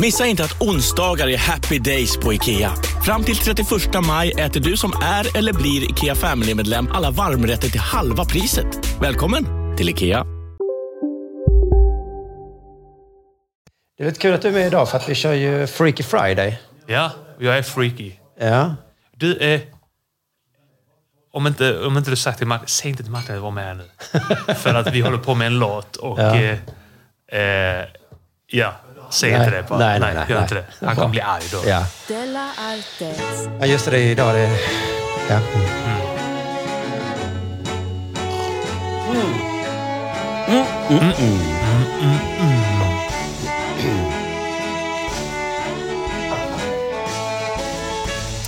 Missa inte att onsdagar är happy days på IKEA. Fram till 31 maj äter du som är eller blir IKEA Family-medlem alla varmrätter till halva priset. Välkommen till IKEA. Det är lite kul att du är med idag för att vi kör ju Freaky Friday. Ja, och jag är freaky. Ja. Du är... Om inte, om inte du sagt till Martin, säg inte till Martin att jag var med här nu. För att vi håller på med en låt och... Ja. Ja, eh, ja säg Nej. inte det bara. Nej, nej, nej, gör nej. inte det. Han kommer bli arg då. Ja. ja, just det. det är Idag det är... Ja.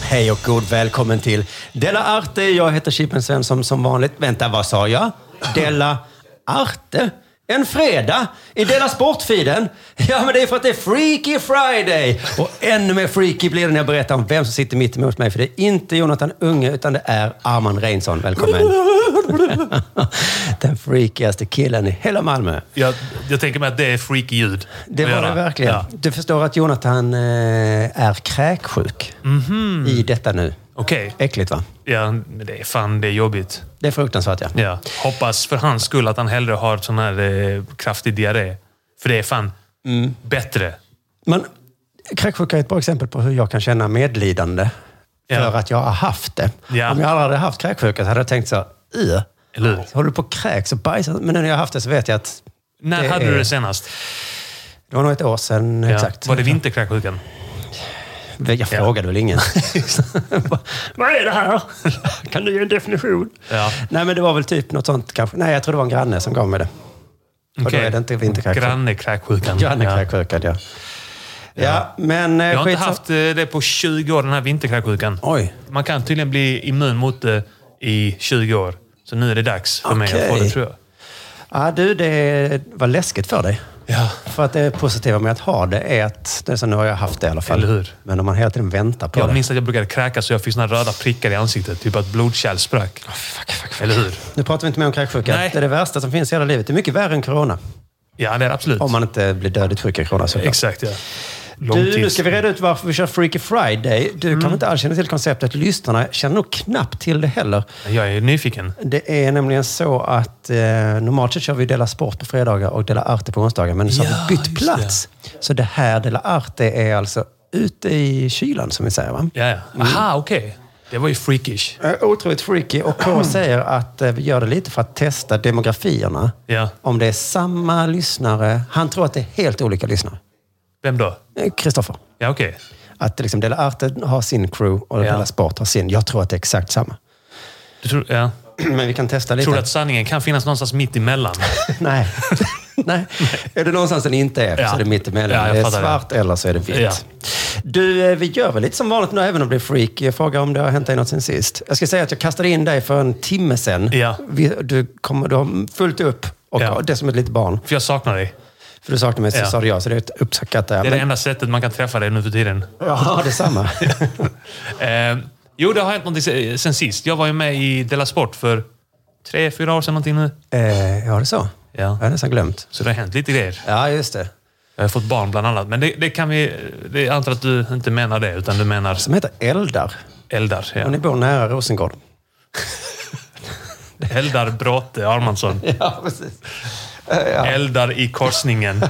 Hej och god välkommen till Della Arte. Jag heter Chippen Svensson som vanligt. Vänta, vad sa jag? Della Arte? En fredag i Della Sportfiden. Ja, men det är för att det är Freaky Friday. Och ännu mer freaky blir det när jag berättar om vem som sitter mitt emot mig. För det är inte Jonathan Unge, utan det är Arman Reinsson. Välkommen. Den freakigaste killen i hela Malmö. Jag, jag tänker mig att det är freaky ljud. Det att var det göra. verkligen. Ja. Du förstår att Jonathan eh, är kräksjuk Mhm. i detta nu. Okej. Äckligt va? Ja, men det är fan det är jobbigt. Det är fruktansvärt ja. Ja. Hoppas för hans skull att han hellre har sån här eh, kraftig diarré. För det är fan Mm. bättre. Men kräksjuka är ett bra exempel på hur jag kan känna medlidande Ja. för att jag har haft det. Ja. Om jag aldrig hade haft kräksjuka så hade jag tänkt så, "Ugh, Eller hur? håller du på och kräks och bajsar? Men nu när jag har haft det så vet jag att När Det hade är- du det senast? det var nog ett år sedan Ja. exakt. Var det vinterkräksjukan? Jag frågade väl ingen. Vad är det här? Kan du ge en definition? Ja. Nej, men det var väl typ något sånt kanske. Nej, jag tror det var en granne som gav mig det. Och då Okej. är det inte vinterkräksjuka. Grannekräksjukan. Grannekräksjukan, ja. ja. Ja, men eh, Jag har inte skitsa- haft eh, det på 20 år, den här vinterkräksjukan. Oj. Man kan tydligen bli immun mot det i 20 år. Så nu är det dags för mig att få Okej. det, tror jag. Ja, du, det var läskigt för dig. Ja. För att det positiva med att ha det är att, det är så nu har jag haft det i alla fall. Eller hur? Men om man hela tiden väntar på Jag det. minns att jag brukade kräkas så jag fick såna röda prickar i ansiktet. Typ att blodkärl sprack. Ah, Eller hur? Nu pratar vi inte mer om kräksjuka. Nej. Det är det värsta som finns i hela livet. Det är mycket värre än corona. Ja, det är det absolut. Om man inte blir dödligt sjuk i corona såklart. Exakt, ja. Du, Långtids- nu ska vi reda ut varför vi kör Freaky Friday. Du Mm. kanske inte alls känner till konceptet. Lyssnarna känner nog knappt till det heller. Jag är nyfiken. Det är nämligen så att eh, normalt sett kör vi Dela Sport på fredagar och Dela Arte på onsdagar. Men så har vi bytt plats. Så det här Dela Arte är alltså ute i kylan, som vi säger. Va? Ja, ja. Aha, okej. Det var ju freakish. Eh, Otroligt freaky. Och K säger att eh, vi gör det lite för att testa demografierna. Ja. Om det är samma lyssnare. Han tror att det är helt olika lyssnare. Vem då? Eh, Kristoffer. Ja, okej. Att liksom Dela Arte har sin crew och Ja. Dela Sport har sin. Jag tror att det är exakt samma. Du tror, ja. Men vi kan testa lite. tror du att sanningen kan finnas någonstans mitt emellan? Nej. Nej. Är det någonstans den inte är, Ja. så är det mittemellan. Ja, jag det är fattar det. svart eller så är det vitt. Ja. Du, eh, vi gör väl lite som vanligt nu, även om det är freak. Jag frågar om det har hänt dig något sen sist. Jag ska säga att jag kastade in dig för en timme sen. Ja. Vi, du, kommer, du har fullt upp, och Ja. det är som ett litet barn. För jag saknar dig. För du saknar mig, så Ja. sa du ja. Så det är ett uppsackat där. Det är det Men, enda sättet man kan träffa dig nu för tiden. ja, detsamma. Eh, jo, det har hänt någonting se- eh, sen sist. Jag var ju med i Della Sport för tre, fyra år sedan någonting nu. eh, ja, det är så. Ja. Jag har nästan glömt. Så det har hänt lite grejer. Ja, just det. Jag har fått barn bland annat. Men det, det kan vi... Det, jag antar att du inte menar det, utan du menar Som heter Eldar. Eldar. Och Ja. ni bor nära Rosengård. Eldar Bråte Armansson. Ja, precis. Eldar i korsningen.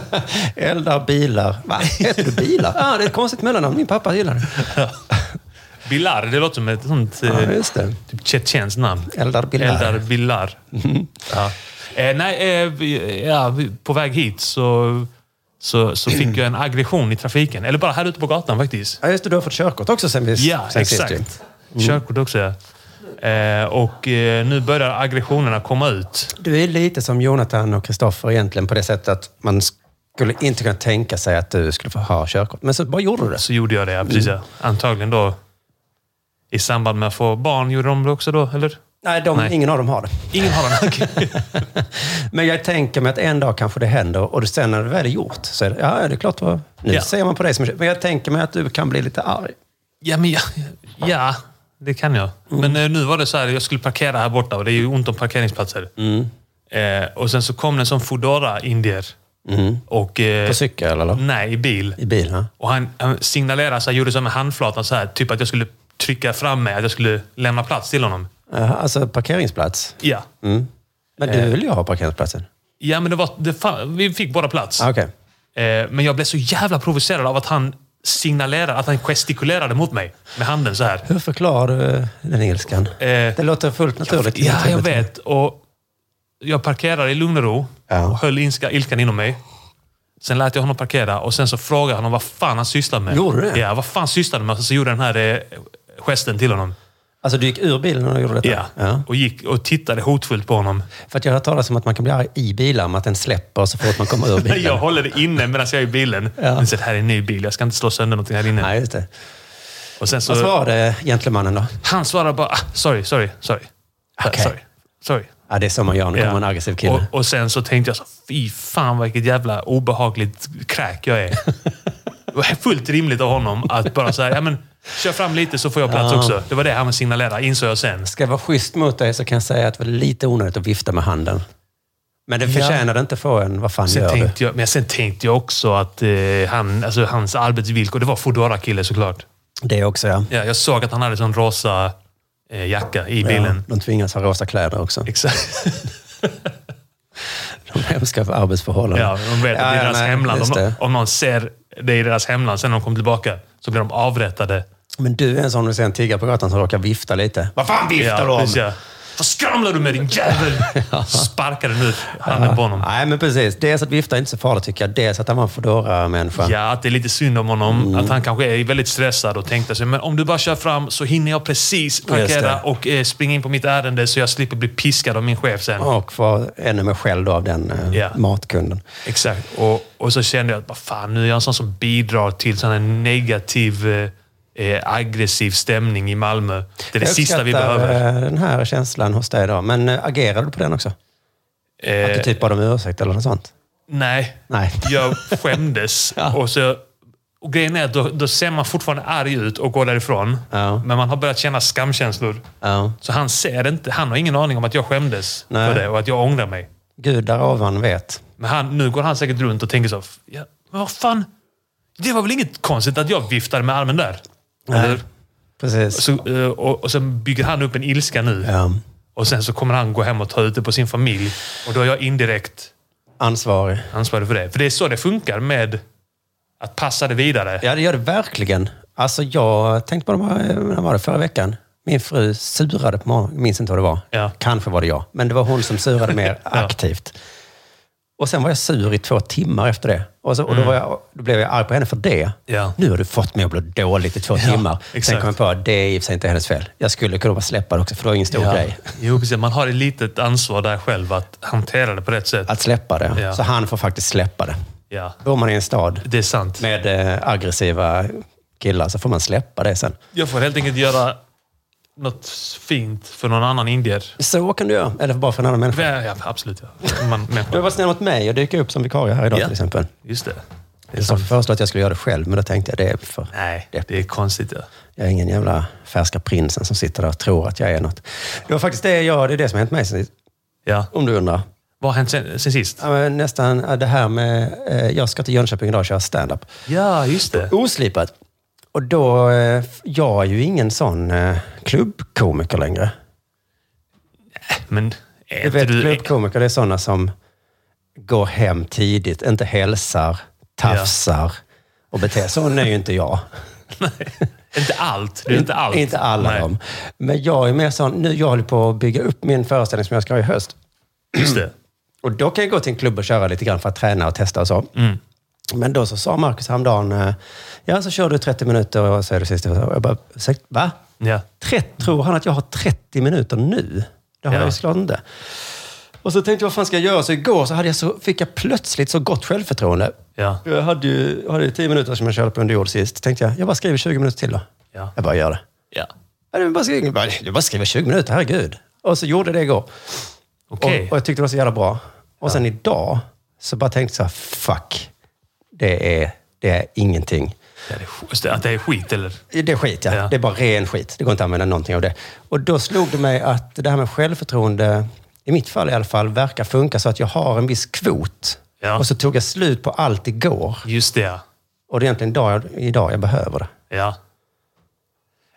Eldar bilar. Va? Heter du bilar? Ja, det är ett konstigt mellannamn. Min pappa gillar det. Bilar, det låter som ett sånt... eh, Ja, just det. Typ tjetjenskt namn. Eldar Mm-hmm. Bilar. Eldar Bilar. Ja. Eh, nej, eh, vi- ja, vi- på väg hit så så, så fick jag en aggression i trafiken. Eller bara här ute på gatan faktiskt. Ja, just det. Du har fått körkort också sen vi Ja, sen sist exakt. Mm. ju. Körkort också ja. Eh, och eh, nu börjar aggressionerna komma ut. Du är lite som Jonathan och Kristoffer egentligen på det sättet att man skulle inte kunna tänka sig att du skulle få ha körkort. Men så bara gjorde du det. Så gjorde jag det, ja, precis Mm. ja. Antagligen då i samband med att få barn gjorde de det också då, eller? Nej, de, Nej. ingen av dem har det. Ingen har den. Okej. Men jag tänker mig att en dag kanske det händer och sen när det väl är gjort så är det, ja, det är klart. Vad, nu Ja. ser man på dig som Men jag tänker mig att du kan bli lite arg. Ja, men ja, ja, det kan jag. Mm. Men eh, nu var det så här, jag skulle parkera här borta och det är ju ont om parkeringsplatser. Mm. Eh, och sen så kom det en sån Foodora-indier. Och... Eh, Mm. På cykel eller? Nej, i bil. I bilen? Och han, han signalerade, så här, gjorde så här med handflatan, så här, typ att jag skulle trycka fram mig, att jag skulle lämna plats till honom. Jaha, Alltså parkeringsplats? Ja. Mm. Men Eh. du vill ju ha parkeringsplatsen? Ja, men det var, det, fan, vi fick båda plats. Ah, Okej. Eh, men jag blev så jävla provocerad av att han signalerade, att han gestikulerade mot mig med handen så här. Hur förklarar du den engelskan? Eh, det låter fullt naturligt. Ja, jag vet. Och jag parkerade i lugn och ro Ja. och höll ilska, ilskan inom mig. Sen lät jag honom parkera och sen så frågade jag honom vad fan han sysslade med. Gjorde du det? Ja, vad fan sysslade med? Och så gjorde jag den här eh, gesten till honom. Alltså du gick ur bilen när du gjorde detta? Ja. ja. Och gick och tittade hotfullt på honom. För att jag har hört talas om att man kan bli arg i bilar, om att den släpper så fort man kommer ur bilen. Jag håller det inne medan jag är i bilen. Ja. Men så här är en ny bil, jag ska inte slå sönder någonting här inne. Nej, just det. Och sen så, Vad svarade gentlemannen då? han svarade bara ah, sorry, sorry, sorry. Okej. Sorry, sorry. Ja, det är så man gör när man Ja. kommer en aggressiv kille. Och, och sen så tänkte jag så, fy fan vilket jävla obehagligt kräk jag är. Det var fullt rimligt av honom att bara säga, ja men kör fram lite så får jag plats också. Det var det han signalerade, insåg jag sen. Ska jag vara schysst mot dig så kan jag säga att det var lite onödigt att vifta med handen. Men det förtjänade inte få en, vad fan Sen gör du? tänkte jag, men sen tänkte jag också att eh, han, alltså, hans arbetsvillkor, det var Foodora-kille såklart. Det också ja. Ja, jag såg att han hade sån rosa eh, jacka i ja. bilen. De tvingas ha rosa kläder också. Exakt. De hemska arbetsförhållanden. Ja, de vet att det är deras nej, hemland. just Om, det. om någon ser det i deras hemland sen när de kommer tillbaka så blir de avrättade. Men du är en sån, du ser en tiggare på gatan som råkar vifta lite. Vad fan viftar du om? precis, ja. Vad skramlar du med din jävel? Sparkade nu handen på honom. Nej, men precis. Dels att vifta är inte så farligt tycker jag. Dels att han var en Foodora-människa. Ja, Mm. att det är lite synd om honom. Att han kanske är väldigt stressad och tänkte sig, men om du bara kör fram så hinner jag precis parkera det. och eh, springa in på mitt ärende så jag slipper bli piskad av min chef sen. Och var ännu mer skälld av den eh, Ja. matkunden. Exakt. Och, och så kände jag att, vad fan, nu är jag en sån som bidrar till sån här negativ, eh, eh, aggressiv stämning i Malmö. Det är det Jag sista vi uppskattar, behöver. eh, den här känslan hos dig idag. Men eh, agerade du på den också? Att du Eh, typ bad om ursäkt eller något sånt? nej, Nej. jag skämdes. och, så, och grejen är att då, då ser man fortfarande arg ut och går därifrån. Ja. Men man har börjat känna skamkänslor. Ja. Så han ser inte. Han har ingen aning om att jag skämdes Nej. för det och att jag ångrar mig. Gud där ovan vet. Men han, nu går han säkert runt och tänker så. "F- Ja, men vad fan? Det var väl inget konstigt att jag viftade med armen där? Eller? Precis. Så, eh, och, och sen bygger han upp en ilska nu. Ja. Och sen så kommer han gå hem och ta ut det på sin familj. Och då är jag indirekt Ansvarig. ansvarig för det. För det är så det funkar med att passa det vidare. Ja, det gör det verkligen. Alltså jag tänkte på det, här- när var det förra veckan? Min fru surade på morgonen, minns inte vad det var. Ja. Kanske var det jag, men det var hon som surade mer aktivt. Och sen var jag sur i två timmar efter det. Och, så, och då, var jag, då blev jag arg på henne för det. Mm. Ja. Nu har du fått mig att bli dåligt i två timmar. Sen exakt. kom jag på att det är i och för sig inte hennes fel. Jag skulle kunna bara släppa det också, för det var ingen stor grej. Jo, precis. Man har ett litet ansvar där själv att hantera det på rätt sätt. Att släppa det. Ja. Så han får faktiskt släppa det. Ja, Bor man i en stad det är sant. med eh, aggressiva killar så får man släppa det sen. Jag får helt enkelt göra något fint för någon annan indier. Så kan du göra, eller bara för en annan människa. Ja, ja, absolut. Ja. Man, Du har människa. varit snäll mot mig och dyka upp som vikarie här idag Ja. till exempel. Just det. det är Jag sant. föreslog att jag skulle göra det själv, men då tänkte jag det är för... Nej, det är konstigt. Ja. Jag är ingen jävla färska prinsen som sitter där och tror att jag är något. Det var faktiskt det jag, det är det som har hänt mig sen sist, ja. om du undrar. Vad har hänt sen, sen sist? Ja, men Nästan ja, det här med, eh, jag ska till Jönköping idag och köra stand-up. Ja, just det. Oslipat. Och då, eh, jag är ju ingen sån eh, klubbkomiker längre. Men är Du inte vet, du... klubbkomiker, det är sådana som går hem tidigt, inte hälsar, tafsar och beter sig. Sån är ju inte jag. Inte allt. Du är inte allt. Inte alla Nej, dem. Men jag är mer sån, nu jag håller på att bygga upp min föreställning som jag ska ha i höst. Just det. Mm. Och då kan jag gå till en klubb och köra lite grann för att träna och testa och så. Men då så sa Marcus häromdagen, eh, ja så kör du 30 minuter och så är det sista. Och Jag bara, ursäkta, va? Ja. 30, tror han att jag har 30 minuter nu? Det har Ja. jag ju såklart inte. Och så tänkte jag, vad fan ska jag göra? Så igår så, hade jag så fick jag plötsligt så gott självförtroende. Ja. Jag hade ju jag hade ju 10 minuter som jag körde på under jord sist. tänkte jag, jag bara skriver 20 minuter till då. Ja. Jag bara gör det. ja. Ja, det var bara skriva, bara, jag bara skriver 20 minuter, herregud. Och så gjorde jag det igår. Okej. Och, och jag tyckte det var så jävla bra. Och sen idag så bara tänkte jag så här, fuck. Det är, det är ingenting. Ja, det är sk- Att det är skit eller? Det är skit, ja. Ja. Det är bara ren skit. Det går inte att använda någonting av det. Och då slog det mig att det här med självförtroende, i mitt fall i alla fall, verkar funka så att jag har en viss kvot. Ja. Och så tog jag slut på allt igår. Just det ja. Och det är egentligen idag, idag jag behöver det. ja.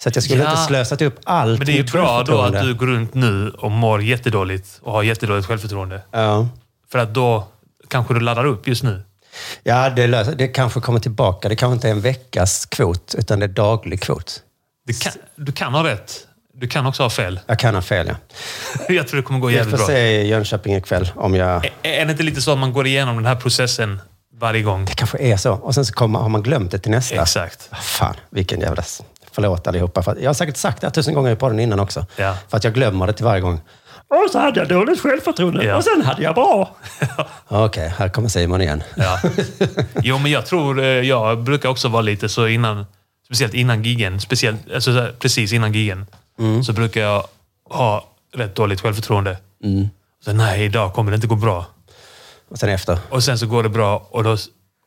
Så att jag skulle Ja. inte slösat upp allt Men det är ju mitt bra då att självförtroende. du går runt nu och mår jättedåligt och har jättedåligt självförtroende. Ja. För att då kanske du laddar upp just nu. Ja, det, löser, det kanske kommer tillbaka. Det kanske inte är en veckas kvot, utan det är daglig kvot. Du kan, du kan ha rätt. Du kan också ha fel. Jag kan ha fel, ja. Jag tror det kommer gå Vi jävligt får bra. se i Jönköping ikväll om jag... Ä- Är det inte lite så att man går igenom den här processen varje gång? Det kanske är så. Och sen så kommer, har man glömt det till nästa. Exakt. Ah, Fan, vilken jävla... s- Förlåt allihopa. För att, jag har säkert sagt det här tusen gånger i podden innan också. Ja. För att jag glömmer det till varje gång. Och så hade jag dåligt självförtroende. Ja. Och sen hade jag bra. Okej, här kommer Simon igen. Ja. Jo, men jag tror... eh, Jag brukar också vara lite så innan... Speciellt innan gigen. Speciellt, alltså, så här, precis innan gigen. Så brukar jag ha rätt dåligt självförtroende. Så, nej, idag kommer det inte gå bra. Och sen efter. Och sen så går det bra. Och, då,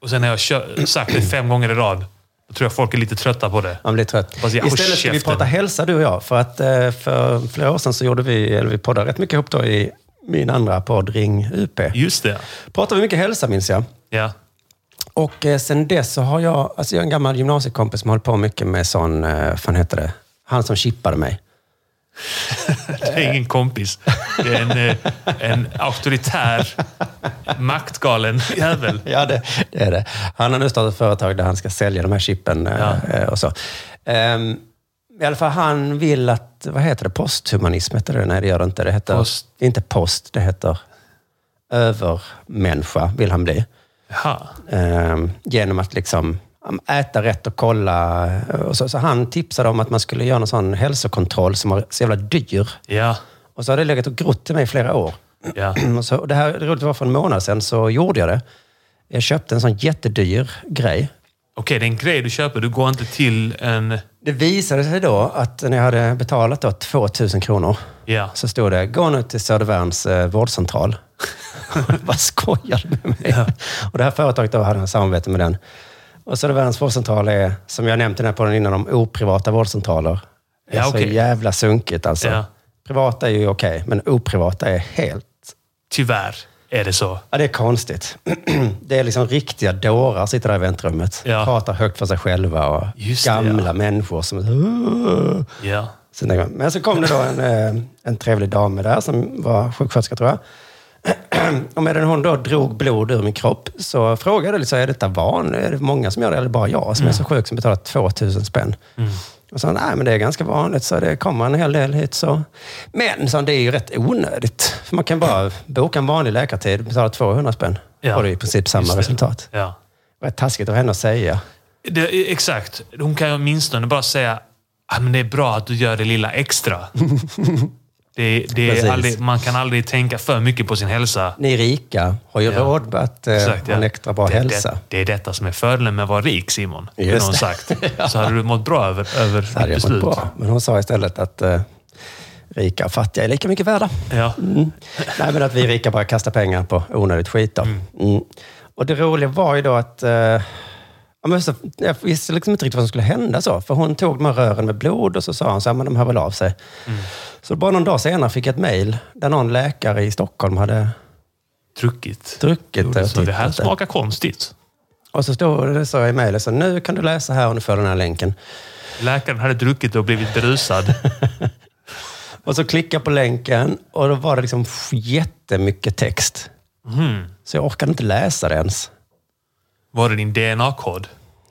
och sen när jag har kö- sagt det fem gånger i rad, då tror jag folk är lite trötta på det. Man blir trött. Fast jag- håll Istället ska vi käften. prata hälsa du och jag. För att eh, för flera år sedan så gjorde vi, eller vi poddade rätt mycket ihop då i min andra podd Ring UP. Just det. Pratade vi mycket hälsa minns jag. Ja. Och eh, sen dess så har jag, alltså jag har en gammal gymnasiekompis som håller på mycket med sån, eh, vad fan heter det? Han som chippade mig. Det är ingen kompis. Det är en, eh, en auktoritär, maktgalen jävel. Ja, det, det är det. Han har nu startat ett företag där han ska sälja de här chippen eh, Ja. eh, och så. Ehm, I alla fall, han vill att, vad heter det, posthumanism heter det? Nej, det gör det inte. Det heter, Post. inte post, det heter övermänniska vill han bli. Jaha. Ehm, genom att liksom ja, äta rätt och kolla. eh, Och så, så han tipsade om att man skulle göra någon sån hälsokontroll som var så jävla dyr. Ja. Och så har det legat och grott till mig i flera år. ja. Mm, Och så, och det här det roligt var för en månad sedan så gjorde jag det. Jag köpte en sån jättedyr grej. Okej, det är en grej du köper. Du går inte till en... Det visade sig då att när jag hade betalat då 2000 kronor Ja. så stod det, gå nu till Södervärns eh, vårdcentral. Vad skojar du med mig? Och det här företaget då hade en samarbete med den. Och Södervärns vårdcentral är, som jag nämnt i den här podden innan, om oprivata vårdcentraler. Det är Ja, så okej. jävla sunkigt alltså. Ja. Privata är ju okej, men oprivata är helt Tyvärr är det så. Ja, det är konstigt. Det är liksom riktiga dårar som sitter där i väntrummet. Ja. Pratar högt för sig själva och Just det, gamla ja. människor som... "Åh." Ja. Så tänker man- Men så kom det då en, eh, en trevlig dam med där som var sjuksköterska tror jag. Och medan hon då drog blod ur min kropp så frågade jag lite, så här, är detta van? Är det många som gör det eller bara jag som är så Mm. sjuk som betalar 2000 spänn? Och så nej men det är ganska vanligt så det kommer en hel del hit så. Men så det är ju rätt onödigt. För man kan bara boka en vanlig läkartid och betala 200 spänn. Ja. Har du i princip Just samma det. resultat. Ja. Rätt taskigt av henne att säga. Det, exakt. Hon kan ju åtminstone bara säga ah, men det är bra att du gör det lilla extra. Det, det Precis. är aldrig, man kan aldrig tänka för mycket på sin hälsa. Ni rika har ju Ja. råd med att eh, Exakt, ha en extra bra det, hälsa. Det, det är detta som är fördelen med att vara rik, Simon. Just Just någon det. sagt. Så hade du mått bra över, över Det hade ditt jag mått beslut. bra. Men hon sa istället att eh, rika och fattiga är lika mycket värda. Ja. Mm. Nej, men att vi rika bara kastar pengar på onödigt skit. Då. Mm. Och det roliga var ju då att eh, ja, men så, jag visste liksom inte riktigt vad som skulle hända. så. För hon tog de här rören med blod och så sa hon så här, men de hör väl av sig. Så bara någon dag senare fick jag ett mejl där någon läkare i Stockholm hade Druckit. druckit det och Så det här tittat det. smakar konstigt. Och så stod det så i mejlet, så nu kan du läsa här om du får den här länken. Läkaren hade druckit och blivit berusad. Och så klickade jag på länken och då var det liksom f- jättemycket text. Mm. Så jag orkade inte läsa det ens. Var det din DNA-kod?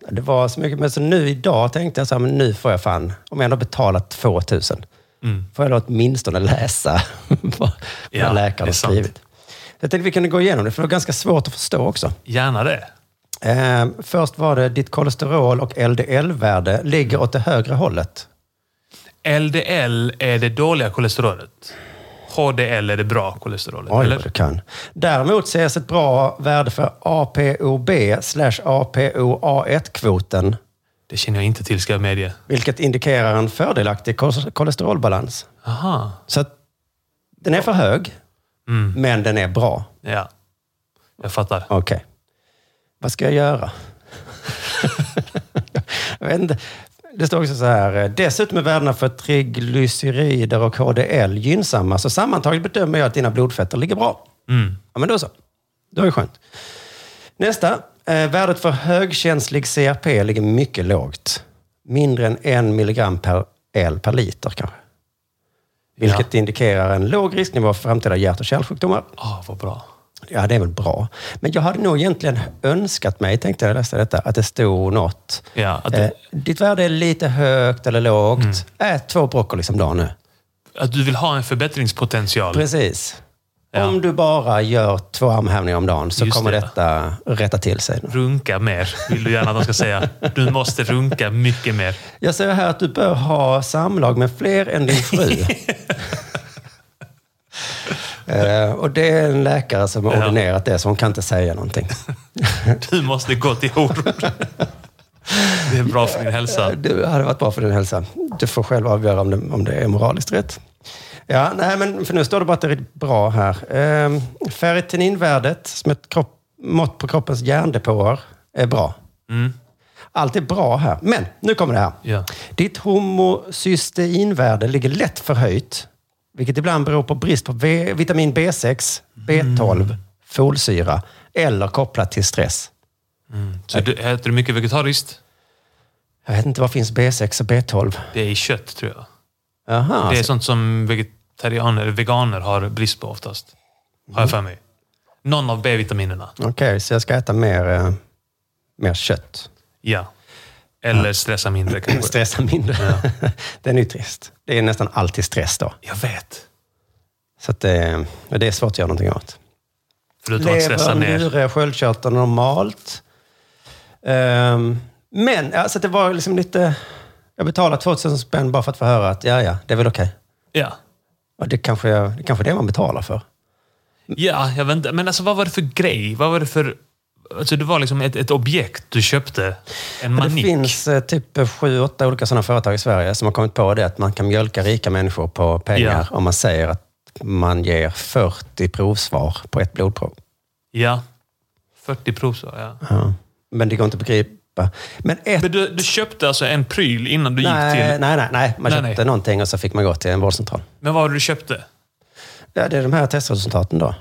Det var så mycket, men så nu idag tänkte jag så här, men nu får jag fan, om jag ändå betalat 2000, får jag då åtminstone läsa vad Mm. Ja, vad det är läkaren har sant. skrivit. Jag tänkte vi kunde gå igenom det, för det var ganska svårt att förstå också. Gärna det. Eh, Eh, först var det ditt kolesterol och LDL-värde ligger åt det högre hållet. LDL är det dåliga kolesterolet. HDL är det bra kolesterolet. Oj, eller? vad du kan. Däremot ses ett bra värde för APOB slash APOA1-kvoten, Det känner jag inte till, ska jag medge. vilket indikerar en fördelaktig kol- kolesterolbalans. Aha. Så att den är för hög, men den är bra. Ja. Jag fattar. Okej. Vad ska jag göra? jag vet inte. Det står också så här. eh, Dessutom är värdena för triglycerider och HDL gynnsamma, så sammantaget bedömer jag att dina blodfetter ligger bra. Ja, men då så. Då är det skönt. Nästa. Eh, värdet för högkänslig CRP ligger mycket lågt. Mindre än en milligram per L per liter kanske. Vilket indikerar en låg risknivå för framtida hjärt och kärlsjukdomar. Ah, vad bra. Ja, det är väl bra. Men jag hade nog egentligen önskat mig, tänkte jag när jag läste detta, att det stod något. Ja, att, du, Eh, ditt värde är lite högt eller lågt. Mm. Ät två broccoli som dag nu. att du vill ha en förbättringspotential. Precis. Ja. Om du bara gör två armhävningar om dagen så Just kommer det. detta rätta till sig. Runka mer, vill du gärna att de ska säga. Du måste runka mycket mer. Jag ser här att du bör ha samlag med fler än din fru. Eh, och det är en läkare som har Ja. ordinerat det, så hon kan inte säga någonting. Du måste gå till horor. Det är bra för din hälsa. Det hade varit bra för din hälsa. Du får själv avgöra om det, om det är moraliskt rätt. Ja, nej, men för nu står det bara att det är bra här. Ehm, ferritininvärdet, som ett kropp, mått på kroppens järndepåer, är bra. Allt är bra här. Men nu kommer det här. Ja. Ditt homocysteinvärde ligger lätt förhöjt, vilket ibland beror på brist på v- vitamin B6, B12, folsyra eller kopplat till stress. Så du, äter du mycket vegetariskt? Jag vet inte, vad finns B6 och B12? Det är i kött, tror jag. Aha, Det är sånt som vegetarianer, eller veganer har brist på oftast. Har jag för mig. Någon av B-vitaminerna. Okej, så jag ska äta mer, eh, mer kött. Ja. Eller stressa mindre kanske. Stressa mindre. Den är ju trist. Det är nästan alltid stress då. Jag vet. Så att det, och det är svårt att göra någonting åt. Förutom att stressa Lever, ner. njure, sköldkörteln normalt. Ehm, men, ja, så att det var liksom lite... Jag betalade 2000 spänn bara för att få höra att ja, ja, det är väl okej. Ja. Och det kanske, jag- det kanske är det man betalar för. Ja, jag vet inte. Men alltså, vad var det för grej? Vad var det för... Alltså, det var liksom ett, ett objekt du köpte. En Men Det manik. finns eh, typ sju, åtta olika sådana företag i Sverige som har kommit på det att man kan mjölka rika människor på pengar Ja. om man säger att man ger 40 provsvar på ett blodprov. Ja. 40 provsvar, ja. Ja. Men det går inte att begripa. Men ett... Men du, du köpte alltså en pryl innan du gick Nej, till... nej, nej, nej. Man Nej, köpte nej. någonting och så fick man gå till en vårdcentral. Men vad var det du köpte? Ja, det är de här testresultaten då,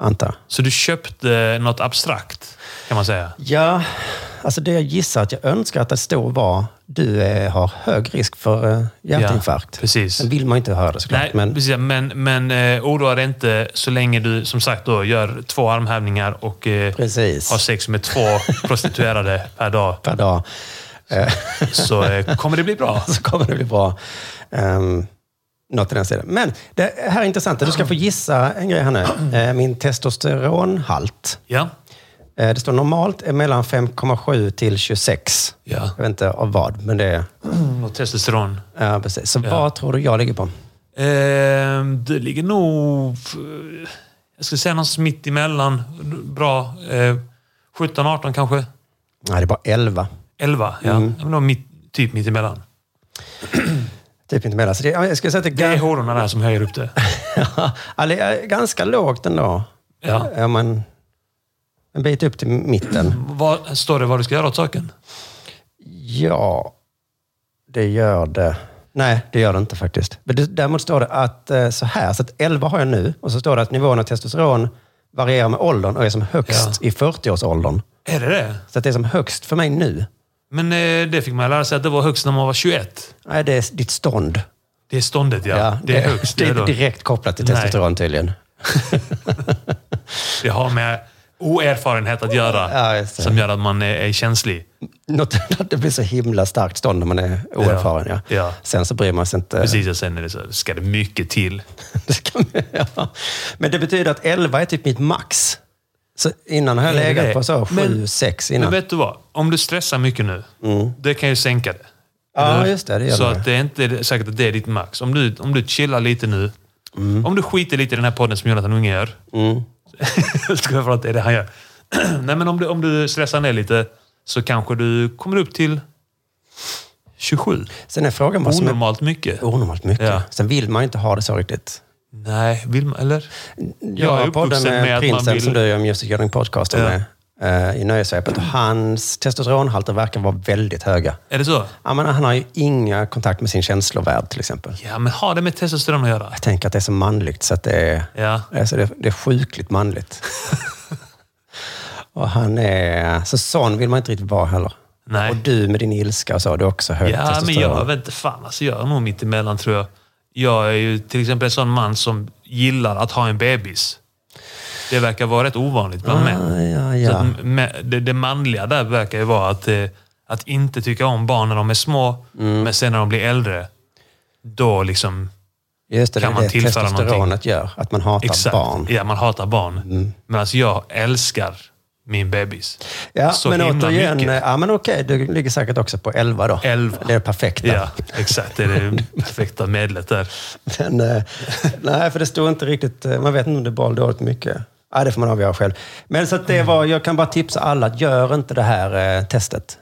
antar jag. Så du köpte något abstrakt, kan man säga. Ja, alltså det jag gissar att jag önskar att det stod var du eh, har hög risk för eh, hjärtinfarkt. Ja, precis. Sen vill man ju inte höra det såklart. Nej, men, precis. Men, men eh, oroa dig inte så länge du som sagt då, gör två armhävningar och eh, Precis. har sex med två prostituerade per dag. per dag. Så eh, kommer det bli bra. så kommer det bli bra. Um, något i den stilen. Men det här är intressant. Du ska få gissa en grej här nu. Eh, min testosteronhalt. Ja. Eh, det står normalt är mellan 5,7 till 26. ja. Jag vet inte av vad, men det är... Och testosteron. Ja, precis. Så vad tror du jag ligger på? Ehm, det ligger nog... Jag skulle säga någonstans mitt emellan. Bra. Eh, 17, 18 kanske? Nej, det är bara 11. 11? Ja. Mm. ja men då mitt, typ mitt emellan. Typ inte mer. Så det, jag skulle säga att det Det är är, hororna där som höjer upp det. Ja, det är ganska lågt ändå. Ja. Ja, men en bit upp till mitten. Vad, står det vad du ska göra åt saken? Ja, det gör det. Nej, det gör det inte faktiskt. Men det, däremot står det att eh, så här, så att 11 har jag nu och så står det att nivån av testosteron varierar med åldern och är som högst i 40-årsåldern. Är det det? Så att det är som högst för mig nu. Men eh, det fick man lära sig att det var högst när man var 21. Nej, det är ditt stånd. Det är ståndet, ja. Ja, det är högst. Det är då. inte direkt kopplat till Nej. testosteron tydligen. Det har med oerfarenhet att göra Ja, just det. som gör att man är, är känslig. Något, att det blir så himla starkt stånd när man är oerfaren. Ja. Ja. Sen så bryr man sig inte. Precis, och sen är det så, ska det mycket till. Det ska man- ja. Men det betyder att 11 är typ mitt max. Så innan har jag Är det legat det? på så sju, Men- sex Men innan. vet du vad? Om du stressar mycket nu, Mm. det kan ju sänka det. Ja, Eller? just det, det gör Så det. att det är inte säkert att det är ditt max. Om du, om du chillar lite nu, Mm. om du skiter lite i den här podden som Jonathan Unge gör. jag skojar för att det är det han gör. Nej, men om du, om du stressar ner lite så kanske du kommer upp till 27. Sen är frågan vad som är Oh. Onormalt mycket. onormalt mycket. Ja. Sen vill man ju inte ha det så riktigt. Nej, vill man, eller? Jag har podden med, prinsen som du gör Music Gathering Podcasten Ja. med eh, i nöjesvepet. Och Hans testosteronhalter verkar vara väldigt höga. Är det så? Ja, men han har ju inga kontakt med sin känslovärld till exempel. Ja, men har det med testosteron att göra? Jag tänker att det är så manligt så att det är, Ja. alltså det, det är sjukligt manligt. och han är... Så sån vill man inte riktigt vara heller. Nej. Och du med din ilska och så, du har också högt Ja, men jag vet inte fan. Alltså, jag är nog mitt emellan tror jag. Jag är ju till exempel en sån man som gillar att ha en bebis. Det verkar vara rätt ovanligt bland män. Ah, ja, Så att ja. m- mä- det, det manliga där verkar ju vara att, eh, att inte tycka om barn när de är små, Mm. men sen när de blir äldre, då liksom... Just det, kan det man är det tillföra testosteronet någonting? gör. Att man hatar Exakt. barn. Mm. Ja, man hatar barn. Men alltså jag älskar min bebis. Ja, Så men himla återigen, eh, mycket. ja, men okej, du ligger säkert också på 11 då. 11. Det är perfekt. Ja, exakt. Det är det perfekta medlet där. Men, eh, nej, för det står inte riktigt... eh, Man vet inte om det är bra eller dåligt mycket. Nej, det får man avgöra själv. Men så att Mm. det var, jag kan bara tipsa alla att gör inte det här eh, testet.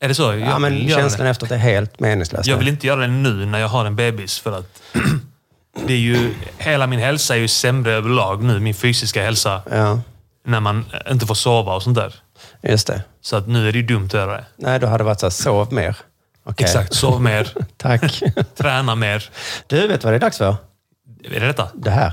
Är det så? Jag Ja, men vill göra känslan det. efteråt är helt meningslös. Jag vill inte göra det nu när jag har en bebis för att det är ju, hela min hälsa är ju sämre överlag nu. Min fysiska hälsa. Ja, När man inte får sova och sånt där. just det. Så att nu är det ju dumt att göra det. Nej, då hade det varit så här, sov mer. Okej. Exakt. Sov mer. Tack. träna mer. Du, vet vad det är dags för? Är det detta? Det här.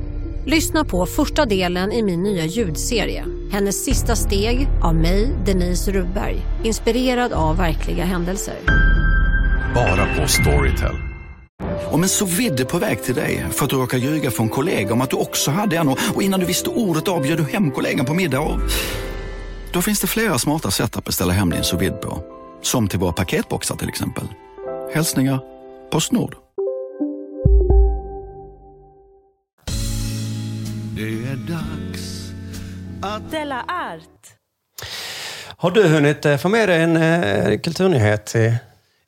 Lyssna på första delen i min nya ljudserie. Hennes sista steg av mig, Denise Rubberg. Inspirerad av verkliga händelser. Bara på Storytel. Om en så vidde på väg till dig för att du råkar ljuga från kollega om att du också hade en och och innan du visste ordet av bjöd du hem kollegan på middag och... Då finns det flera smarta sätt att beställa hem din sous vide på. Som till våra paketboxar till exempel. Hälsningar Postnord. Det är dags Della Art. Har du hunnit eh, få med dig en eh, kulturnyhet? i-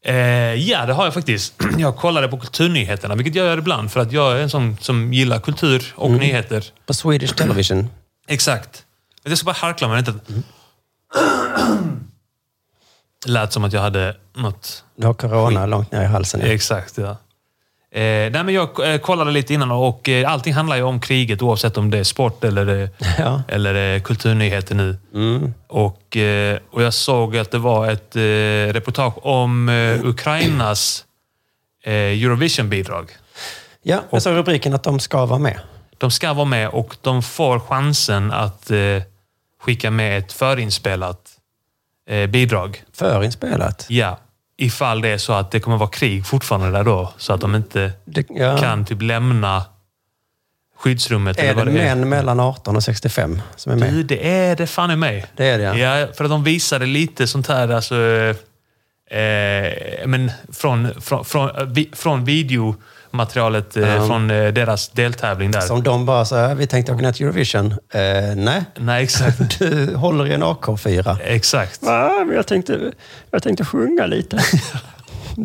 Eh, ja, det har jag faktiskt. Jag kollade på kulturnyheterna, vilket jag gör ibland för att jag är en sån som gillar kultur och nyheter. På Swedish Television? Exakt. Jag ska bara harkla mig. Inte... Lät som att jag hade något. Du har corona långt ner i halsen. ja. Exakt, ja. Eh, nej, men jag eh, kollade lite innan och eh, allting handlar ju om kriget oavsett om det är sport eller, det, Ja. eller det är kulturnyheter nu. Och, eh, och jag såg att det var ett eh, reportage om eh, Ukrainas eh, Eurovision-bidrag. Ja, jag såg rubriken att de ska vara med. De ska vara med och de får chansen att eh, skicka med ett förinspelat eh, bidrag. Förinspelat. Ja, ifall det är så att det kommer vara krig fortfarande där då. Så att de inte Det, ja. kan typ lämna skyddsrummet. Är det, vad män mellan 18 och 65 som är med? Du, det är det fan i mig. Det är det, ja. För att de visade lite sånt här, alltså... eh, Eh, men från, från, från, eh, vi, från videomaterialet eh, från eh, deras deltävling där. Som de bara så här, vi tänkte åka ner till Eurovision. Eh, nej, Nej, exakt. du håller i en AK4. exakt. Nej, men jag tänkte, jag tänkte sjunga lite. Eh,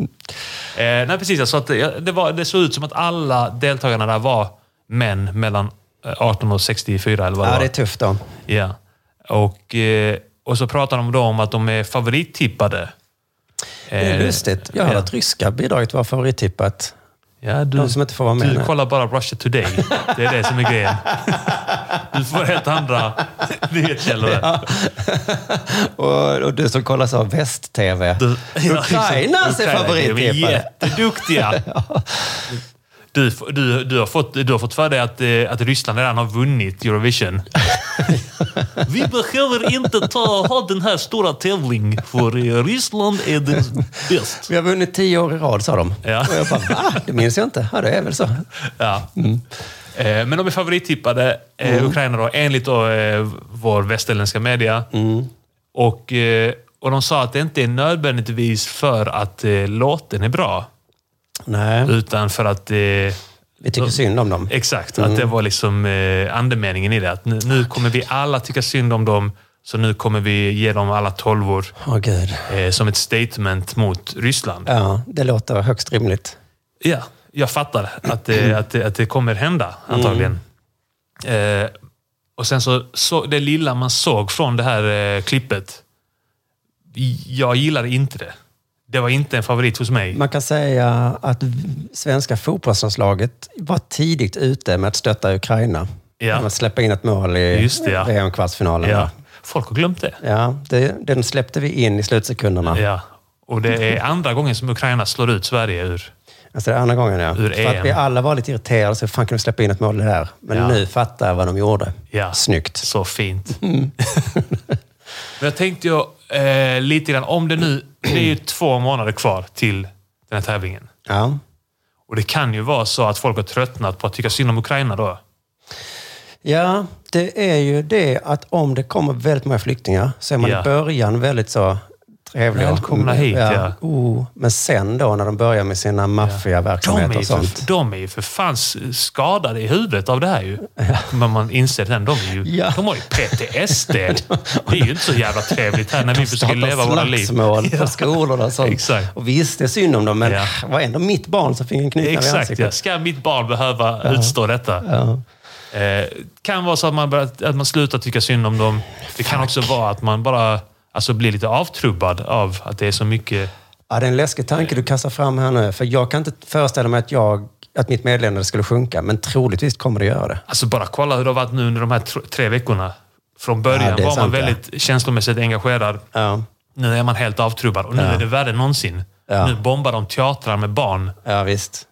nej, precis. Så att det, det, var, det såg ut som att alla deltagarna där var män mellan eh, 18 och 64 eller vad det ja, var. det är tufft då. Ja. Och, eh, och så pratar de då om att de är favorittippade. Det är Eh, lustigt. Jag hörde ja. att ryska bidraget var favorittippat. Eh, Ja, du, De som inte får vara med, Du nej. kollar bara Russia Today. Det är det som är grejen. Du får helt andra nyhetskällor. Ja. Och, och du som kollar så här väst-tv. Du, Ukrainas är Ukraina, De är favorittippade. jätteduktiga. Du, du, du, har fått, du har fått för dig att, eh, att Ryssland redan har vunnit Eurovision. Vi behöver inte ta, ha den här stora tävlingen, för eh, Ryssland är det bäst. Vi har vunnit tio år i rad, sa de. Ja. Och jag bara, va? Det minns jag inte. Ja, det är väl så. Ja. Eh, Men de är favorittippade, eh, Mm. Ukraina, då, enligt då, eh, vår västerländska media. Mm. Och, eh, och de sa att det inte är nödvändigtvis för att eh, låten är bra, Nej. utan för att... Vi tycker synd om dem. Exakt, Mm. att det var liksom eh, andemeningen i det. Att nu, nu kommer vi alla tycka synd om dem, så nu kommer vi ge dem alla tolvor. Åh, gud. eh, Som ett statement mot Ryssland. Ja, det låter högst rimligt. Ja, jag fattar att det, att det, att det kommer hända antagligen. Eh, och sen så, så, det lilla man såg från det här eh, klippet. Jag gillade inte det. Det var inte en favorit hos mig. Man kan säga att svenska fotbollslandslaget var tidigt ute med att stötta Ukraina. Ja. Med att släppa in ett mål i Just det, ja. VM-kvartsfinalen. Ja. Folk har glömt det. Ja, det, den släppte vi in i slutsekunderna. Ja. Och det är andra gången som Ukraina slår ut Sverige ur... Alltså det är andra gången, ja. Ur För att EM. vi alla var lite irriterade. Så hur fan kan de släppa in ett mål där? Men Ja. nu fattar jag vad de gjorde. Ja. Snyggt. Så fint. Men jag tänkte ju eh, lite grann, om det nu... Det är ju två månader kvar till den här tävlingen. Ja. Och det kan ju vara så att folk har tröttnat på att tycka synd om Ukraina då. Ja, det är ju det att om det kommer väldigt många flyktingar så är man Ja. i början väldigt så trevlig. och- Välkomna hit, ja. Oh, men sen då när de börjar med sina De är, maffiaverksamheter ju och sånt. för, de är ju för fan s- skadade i huvudet av det här ju. Men man inser sen, de, är ju, Ja. de har ju PTSD. Det är ju inte så jävla trevligt här när vi försöker leva våra liv. Slagsmål på skolor och sånt. Exakt. Och visst, det är synd om dem, men Ja. ah, vad ändå mitt barn som fick en knytnäve i Exakt, ja. ansiktet. Ska mitt barn behöva Ja. utstå detta? Ja. Eh, kan vara så att man, börjar- att man slutar tycka synd om dem. Det kan också vara att man bara alltså, blir lite avtrubbad av att det är så mycket... Ja, det är en läskig tanke du kastar fram här nu. För jag kan inte föreställa mig att, jag, att mitt meddelande skulle sjunka, men troligtvis kommer det göra det. Alltså bara kolla hur det har varit nu under de här tr- tre veckorna. Från början Ja, det är var sant, man ja. väldigt känslomässigt engagerad. Nu är man helt avtrubbad och nu Ja. är det värre än någonsin. Ja. Nu bombar de teatrar med barn. Ja, visst.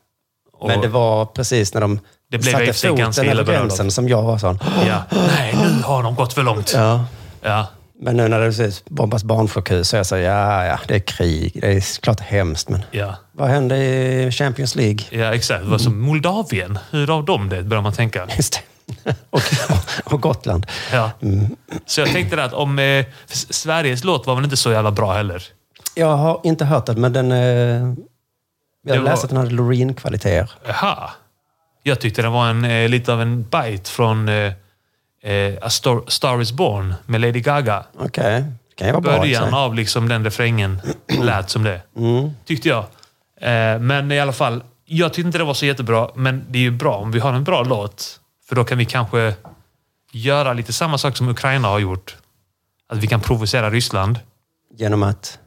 Och, Men det var precis när de Det blev i satte och för sig ganska foten illa över berörd. gränsen som jag var sån. ja. Nej, nu har de gått för långt. Ja. Ja. Men nu när det precis bombas barnsjukhus så är jag så här, ja, ja, det är krig. Det är klart hemskt, men Ja. vad hände i Champions League? ja, exakt. Det var som Moldavien. Hur har de det, börjar man tänka. Just det. och, och Gotland. Ja. Mm. Så jag tänkte det att om... Eh, för S- Sveriges låt var väl inte så jävla bra heller? Jag har inte hört den, men den... Eh, jag Det har var- läst att den hade Loreen-kvaliteter. Jaha. Jag tyckte det var en, eh, lite av en bite från eh, eh, A Star, Star Is Born med Lady Gaga. Okej, det kan ju vara bra. i och för Början sig. av liksom den refrängen lät som det, Mm. tyckte jag. Eh, men i alla fall, jag tyckte inte det var så jättebra, men det är ju bra om vi har en bra låt. För då kan vi kanske göra lite samma sak som Ukraina har gjort. Att vi kan provocera Ryssland. Genom att...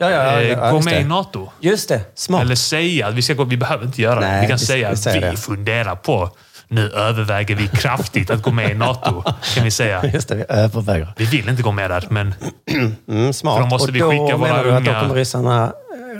Ja, ja, ja, Eh, ja, gå just med i det. NATO. Just det, smart. Eller säga att vi ska gå, vi behöver inte göra det. Nej, Vi kan vi- säga vi att vi säger det. funderar på, nu överväger vi kraftigt att gå med i NATO. Kan vi säga. Just det, vi överväger. Vi vill inte gå med där, men Mm, smart. För då måste och vi då skicka våra menar du att då unga- kommer ryssarna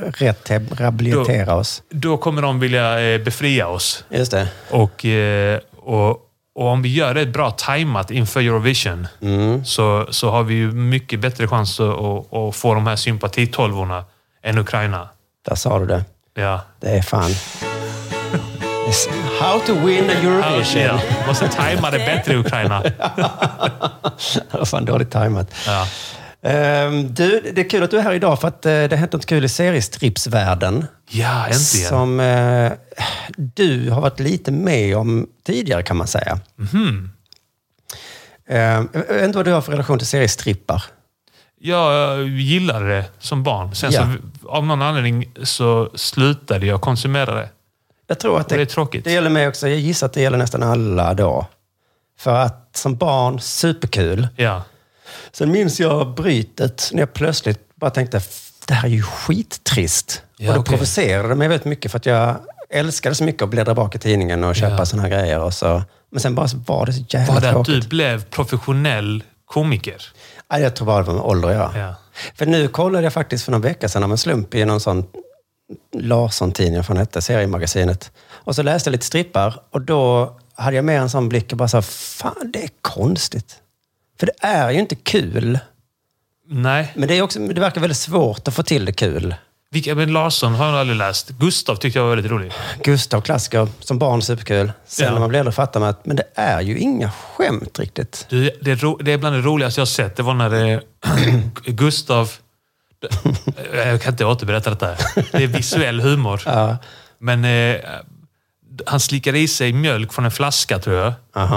eh, rätt rehabilitera oss? då kommer de vilja eh, befria oss. Just det. Och, eh, och, och om vi gör det bra tajmat inför Eurovision Mm. så, så har vi ju mycket bättre chans att, att, att få de här sympatitolvorna än Ukraina. Där sa du det. Ja. Det är fan... It's How to win a Eurovision. Ja, måste tajma det bättre Ukraina. Det var fan dåligt tajmat. Ja. Ehm, du, det är kul att du är här idag för att eh, det har hänt något kul i seriestripsvärlden. Ja, äntligen. Som eh, du har varit lite med om tidigare kan man säga. Mhm. Ehm, jag vet inte vad du har för relation till seriestrippar. Jag gillade det som barn. Sen Ja. så, av någon anledning så slutade jag konsumera det. Jag tror att Och det är det, tråkigt. det gäller mig också. Jag gissar att det gäller nästan alla då. För att som barn, superkul. Ja. Sen minns jag brytet när jag plötsligt bara tänkte, "F- det här är ju skittrist. Ja, och då det- provocerade det mig väldigt mycket för att jag älskade så mycket att bläddra bak i tidningen och köpa Ja. såna sådana här grejer. Och så. Men sen bara så var det så jävla Var det att tråkigt. du blev professionell komiker? Nej, jag tror bara det var med ålder, ja. Ja. För nu kollade jag faktiskt för någon vecka sedan av en slump i någon sån Larsson-tidningen, för han hette, seriemagasinet. Och så läste jag lite strippar och då hade jag med en sån blick och bara så här, fan det är konstigt. För det är ju inte kul. Nej. Men det, är också, det verkar väldigt svårt att få till det kul. Vilka, men Larsson har jag aldrig läst. Gustav tyckte jag var väldigt rolig. Gustav klassiker, som barn superkul. Sen Ja. när man blir äldre fattar man att men det är ju inga skämt riktigt. Du, det, är ro, det är bland det roligaste jag har sett. Det var när det, Gustav... Eh, Jag kan inte återberätta detta. Det är visuell humor. Men eh, han slickar i sig mjölk från en flaska, tror jag.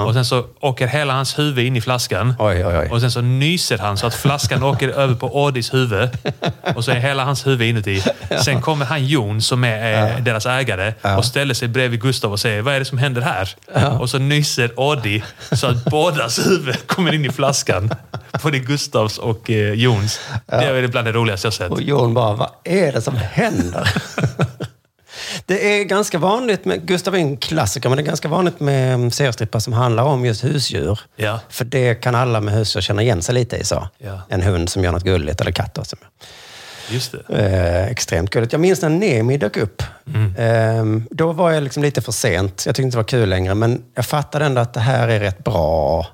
Och Sen så åker hela hans huvud in i flaskan. Och Sen så nyser han så att flaskan åker över på Odis huvud. Och så är hela hans huvud inuti. Sen kommer han Jon, som är eh, deras ägare, och ställer sig bredvid Gustav och säger “Vad är det som händer här?” Och så nyser Odi så att bådas huvud kommer in i flaskan. Både Gustavs och eh, Jons. Det är bland det roligaste jag sett. Och Jon bara, vad är det som händer? det är ganska vanligt med, Gustav är en klassiker, men det är ganska vanligt med mm, seriestrippar som handlar om just husdjur. Ja. För det kan alla med husdjur känna igen sig lite i. Så. Ja. En hund som gör något gulligt, eller katt. då, Som, Just det. eh, extremt gulligt. Jag minns när Nemi dök upp. Ehm, då var jag liksom lite för sent. Jag tyckte inte det var kul längre, men jag fattade ändå att det här är rätt bra.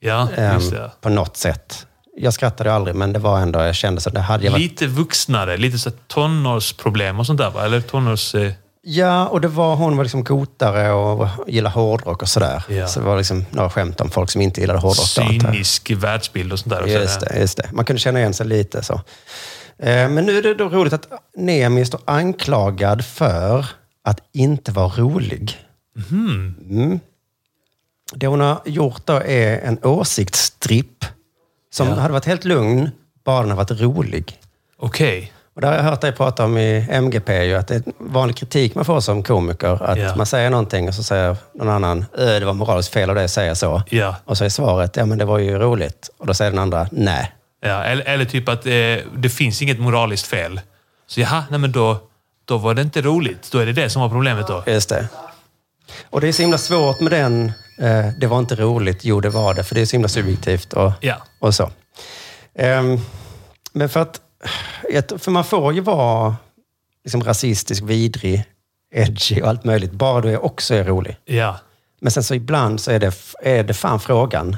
Ja, ehm, just det. På något sätt. Jag skrattade ju aldrig, men det var ändå, jag kände så. Det hade jag varit Lite vuxnare, lite så här tonårsproblem och sånt där va? Eller tonårs... Eh, Ja, och det var, hon var liksom gotare och gillade hårdrock och sådär. Ja. Så det var liksom några skämt om folk som inte gillade hårdrock. då, antar jag. cynisk världsbild och sånt där. också. Just det, just det. Man kunde känna igen sig lite så. Eh, Men nu är det då roligt att Nemi står anklagad för att inte vara rolig. Mhm. Mm. Det hon har gjort då är en åsiktsstripp som hade varit helt lugn, bara den hade varit rolig. Okej. Och det har jag hört dig prata om i MGP, ju, att det är en vanlig kritik man får som komiker. Att Ja. man säger någonting och så säger någon annan, "Ö, det var moraliskt fel av dig att säga så. Ja. Och så är svaret, ja men det var ju roligt. Och då säger den andra, nej. Ja, eller, eller typ att eh, det finns inget moraliskt fel. Så jaha, nej men då, då var det inte roligt. Då är det det som var problemet då. Just det. Och det är så himla svårt med den, eh, det var inte roligt, jo det var det, för det är så himla subjektivt och, Ja. och så. Ehm, men för att, jag tror- för man får ju vara liksom rasistisk, vidrig, edgy och allt möjligt, bara du är- också är rolig. Ja. Men sen så ibland så är det, är det fan frågan,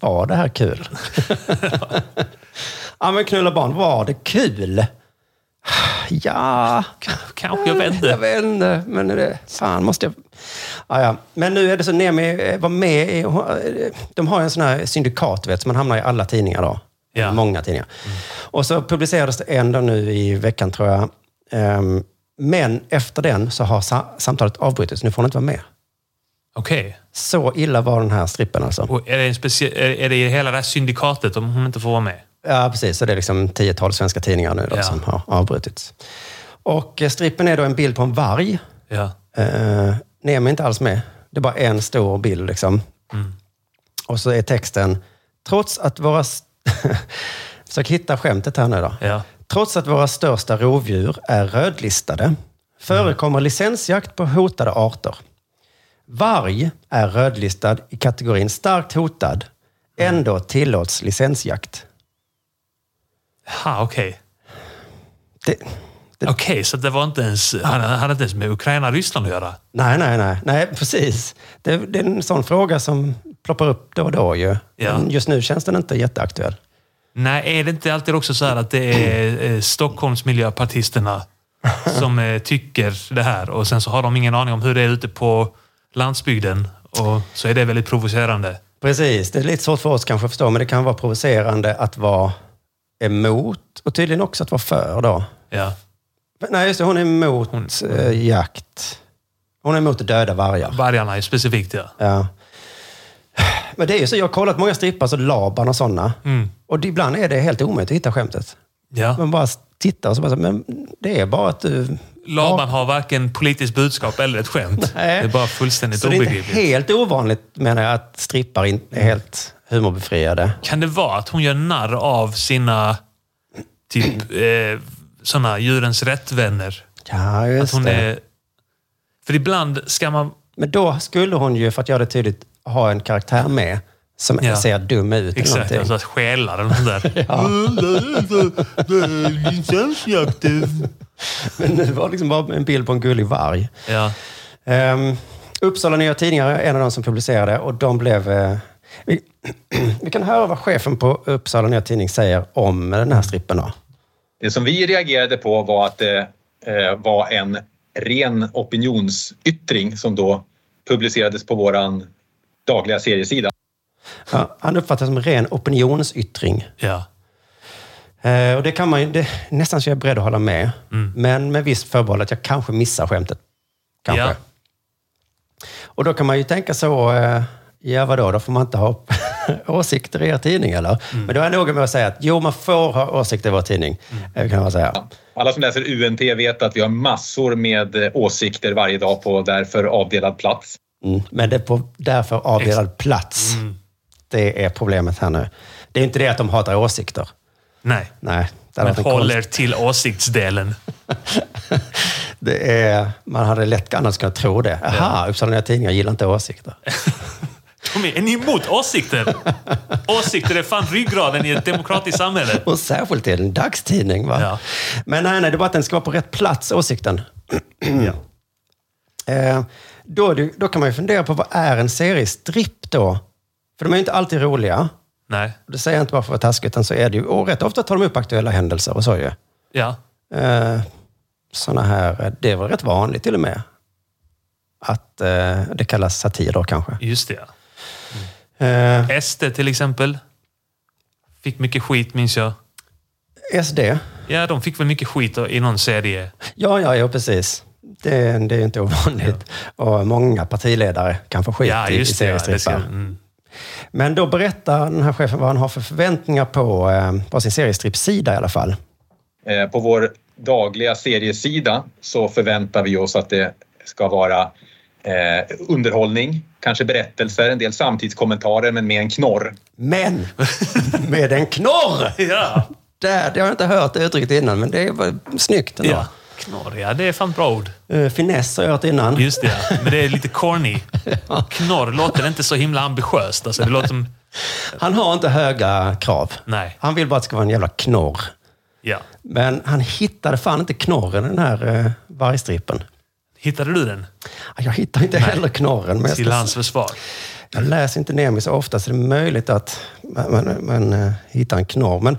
var det här kul? ja men knulla barn, var det kul? Ja, kanske jag vet inte. Jag vet inte, men är det, fan måste jag... Ja, ja. Men nu är det så, Nemi eh, var med i... hon- eh, De har ju en sån här syndikat, vet, så man hamnar i alla tidningar då. Ja. Många tidningar. Och så publicerades det en då nu i veckan, tror jag. Ehm, Men efter den så har sa- samtalet avbrutits, nu får hon inte vara med. Okej. Så illa var den här strippen alltså. Och är det, en specie- är, är det i hela det här syndikatet om hon inte får vara med? Ja, precis. Så det är liksom tiotal svenska tidningar nu då, Ja. som har avbrutits. Och eh, strippen är då en bild på en varg. Ja. Eh, Nemi är inte alls med. Det är bara en stor bild liksom. Mm. Och så är texten, trots att våra... s- Försök hitta skämtet här nu då. Ja. Trots att våra största rovdjur är rödlistade förekommer licensjakt på hotade arter. Varg är rödlistad i kategorin starkt hotad. Ändå tillåts licensjakt. Ha, okej. Det, Okej, så det var inte ens... Han han hade inte ens med Ukraina och Ryssland att göra? nej, nej, nej, nej, precis. Det, det är en sån fråga som ploppar upp då och då ju. Ja. Men Just nu känns den inte jätteaktuell. Nej, är det inte alltid också så här att det är eh, Stockholms miljöpartisterna som eh, tycker det här och sen så har de ingen aning om hur det är ute på landsbygden och så är det väldigt provocerande. Precis, det är lite svårt för oss kanske att förstå, men det kan vara provocerande att vara emot och tydligen också att vara för då. Ja. Men Nej, just det. Hon är emot eh, jakt. Hon är emot att döda vargar. Vargarna är specifikt ja. Ja. Men det är ju så, jag har kollat många strippar, så Laban och sådana. Mm. Och det- ibland är det helt omöjligt att hitta skämtet. ja. Man bara tittar och så bara, så, men det är bara att eh, du... Laban har varken politiskt budskap eller ett skämt. Nej. Det är bara fullständigt Så det är inte obegripligt. helt ovanligt, menar jag, att strippar in- är helt humorbefriade. Kan det vara att hon gör narr av sina typ eh, såna djurens rättvänner? Ja, Att just hon det. är... För ibland ska man Men då skulle hon ju, för att göra det tydligt, ha en karaktär med som Ja. ser dum ut. eller Exakt, någonting. alltså att stjäla den där. Ja. Licensjakt. Men det var liksom bara en bild på en gullig varg. Ja. Ehm, Uppsala Nya Tidningar är en av de som publicerade och de blev... eh, vi, vi kan höra vad chefen på Uppsala Nya Tidning säger om den här strippen då. Det som vi reagerade på var att det eh, var en ren opinionsyttring som då publicerades på våran dagliga seriesida. Ja, han uppfattar det som ren opinionsyttring. Ja. Eh, och det kan man ju, det, nästan så jag är beredd att hålla med. Men med visst förbehåll att jag kanske missar skämtet. Kanske. Ja. Och då kan man ju tänka så, eh, ja vadå, då får man inte ha åsikter i er tidning eller? Men då är jag noga med att säga att jo, man får ha åsikter i vår tidning. Eh, Kan man säga. Alla som läser UNT vet att vi har massor med eh, åsikter varje dag på därför avdelad plats. Mm. Men det är på därför avdelad plats. Det är problemet här nu. Det är inte det att de hatar åsikter. Nej. Nej, det hade Men varit en konst- håller till åsiktsdelen. Det är, man hade lätt annars kunnat tro det. Aha, Uppsala Nya Tidningar gillar inte åsikter. De är, är ni emot åsikter? Åsikter är fan ryggraden i ett demokratiskt samhälle. Och särskilt i en dagstidning. Va? Men nej, nej, det är bara att den ska vara på rätt plats, åsikten. Eh, då, är det- då kan man ju fundera på vad är en seriestripp då? För de är ju inte alltid roliga. Nej. Det säger jag inte bara för att vara taskig, utan så är det ju. Och rätt ofta tar de upp aktuella händelser och så ju. Ja. Eh, såna här, eh, det var rätt vanligt till och med. Att eh, det kallas satir då kanske. Just det. ja. Eh. SD till exempel. Fick mycket skit minns jag. SD? Ja, de fick väl mycket skit i någon serie. Ja, ja, ja precis. Det, det är inte ovanligt. Och många partiledare kan få skit ja, i, i just det. Ja, det ska, seriestrippar. mm. Men då berättar den här chefen vad han har för förväntningar på, eh, på sin seriestrippsida i alla fall. Eh, På vår dagliga seriesida så förväntar vi oss att det ska vara eh, underhållning, kanske berättelser, en del samtidskommentarer men med en knorr. Men med en knorr! Ja. Där, det har jag inte hört uttryckt innan, men det var snyggt ändå. Ja. Knorr, ja. Det är fan bra ord. Eh, finess har jag hört innan. Just det, ja. men det är lite corny. Knorr låter inte så himla ambitiöst. Alltså, det låter... Han har inte höga krav. Nej. Han vill bara att det ska vara en jävla knorr. Ja. Men han hittade fan inte knorren i den här eh, vargstrippen. Hittade du den? Jag hittar inte heller knorren. Men jag, Till ska, hans försvar. jag läser inte ner mig så ofta, så det är möjligt att man, man, man eh, hittar en knorr. Men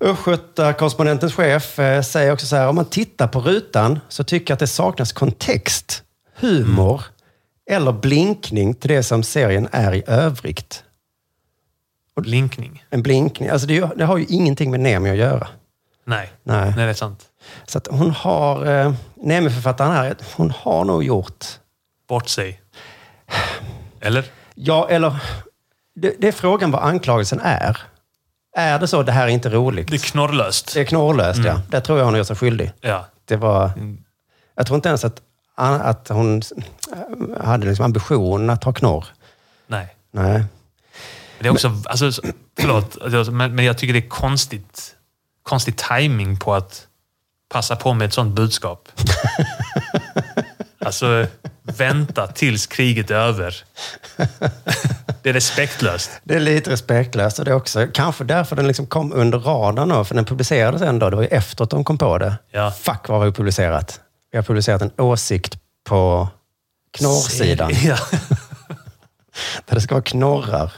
Östgötakorrespondentens chef eh, säger också så här, om man tittar på rutan så tycker jag att det saknas kontext, humor eller blinkning till det som serien är i övrigt. Blinkning? En blinkning. Alltså det, är ju- det har ju ingenting med Nemi att göra. Nej. Nej. Nej, det är sant. Så att hon har, eh, Nemi-författaren här, hon har nog gjort Bort sig. Eller? Ja, eller... Det, det är frågan vad anklagelsen är. Är det så det här är inte roligt? Det är Mm. knorrlöst. Det är knorrlöst, ja. Det tror jag hon gör sig skyldig. Ja. Det var... Mm. Jag tror inte ens att, att hon hade liksom ambition att ha knorr. Nej. Nej. Men Det är också, alltså, så- förlåt, alltså, men, men jag tycker det är konstigt, konstig timing på att passa på med ett sånt budskap. alltså, vänta tills kriget är över. det är respektlöst. Det är lite respektlöst och det är också kanske därför den liksom kom under radarn då, för den publicerades ändå. Det var ju efteråt de kom på det. Ja. Fuck vad har vi publicerat? Vi har publicerat en åsikt på knorrsidan. Ja. Där det ska vara knorrar.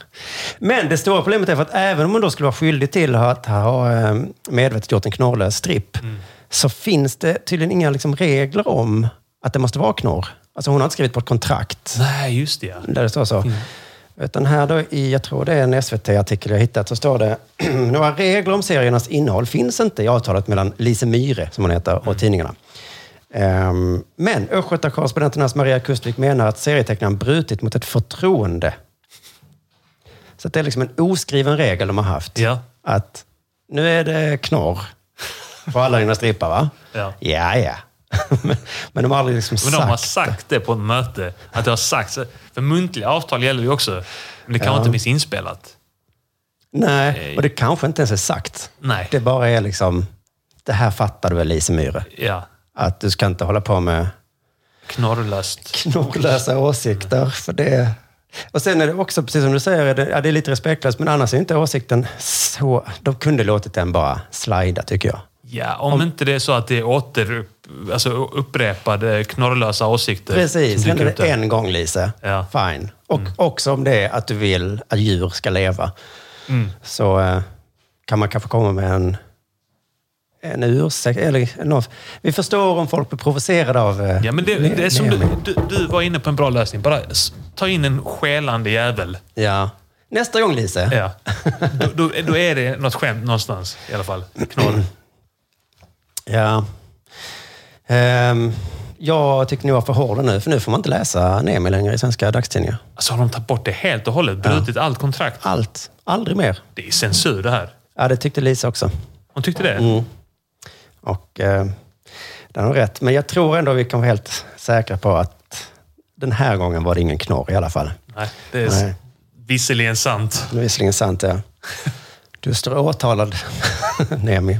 Men det stora problemet är för att även om man då skulle vara skyldig till att ha eh, medvetet gjort en knorrlös stripp så finns det tydligen inga liksom regler om att det måste vara knorr. Alltså hon har inte skrivit på ett kontrakt Nej, just det. ja. där det står så. Mm. Utan här då i, jag tror det är en SVT-artikel jag hittat, så står det några regler om seriernas innehåll finns inte i avtalet mellan Lise Myre, som hon heter, och Mm. tidningarna. Ehm, men Östgötakorrespondenternas Maria Kustvik menar att serietecknaren brutit mot ett förtroende. Så att det är liksom en oskriven regel de har haft. Ja. Att nu är det knorr på alla dina strippar, va? Ja. Ja, ja. men, men de har aldrig liksom Men sagt... de har sagt det på ett möte. Att det har sagts. För muntliga avtal gäller ju också. Men det kanske Ja. inte finns inspelat. Nej, och det kanske inte ens är sagt. Nej. Det bara är liksom, det här fattar du väl Lise Myhre? Ja. Att du ska inte hålla på med Knorrlöst. knorrlösa åsikter. För det... Och sen är det också, precis som du säger, är det, ja, det är lite respektlöst, men annars är inte åsikten så... De kunde låtit den bara slida, tycker jag. Ja, om, inte det är så att det är åter, alltså upprepade knorrlösa åsikter. Precis, som dyker händer upp det där. en gång Lise, fine. Och också om det är att du vill att djur ska leva, Mm. så eh, kan man kanske komma med en, en ursäkt. Eller något. Vi förstår om folk blir provocerade av... eh, Ja, men det, det är som du, du, du var inne på en bra lösning. Bara s- ta in en skälande jävel. Ja. Nästa gång Lise. Ja. Då, då, då är det något skämt någonstans i alla fall. Knorr. Ja. Ehm, jag tycker ni var för hårda nu, för nu får man inte läsa Nemi längre i svenska dagstidningar. Alltså har de tagit bort det helt och hållet? Brutit allt kontrakt? Allt. Aldrig mer. Det är censur det här. Ja, det tyckte Lisa också. Hon tyckte det? Mm. Och eh, den har rätt. Men jag tror ändå vi kan vara helt säkra på att den här gången var det ingen knorr i alla fall. Nej, det är Nej. visserligen sant. Det är visserligen sant, ja. Du står åtalad, Nemi.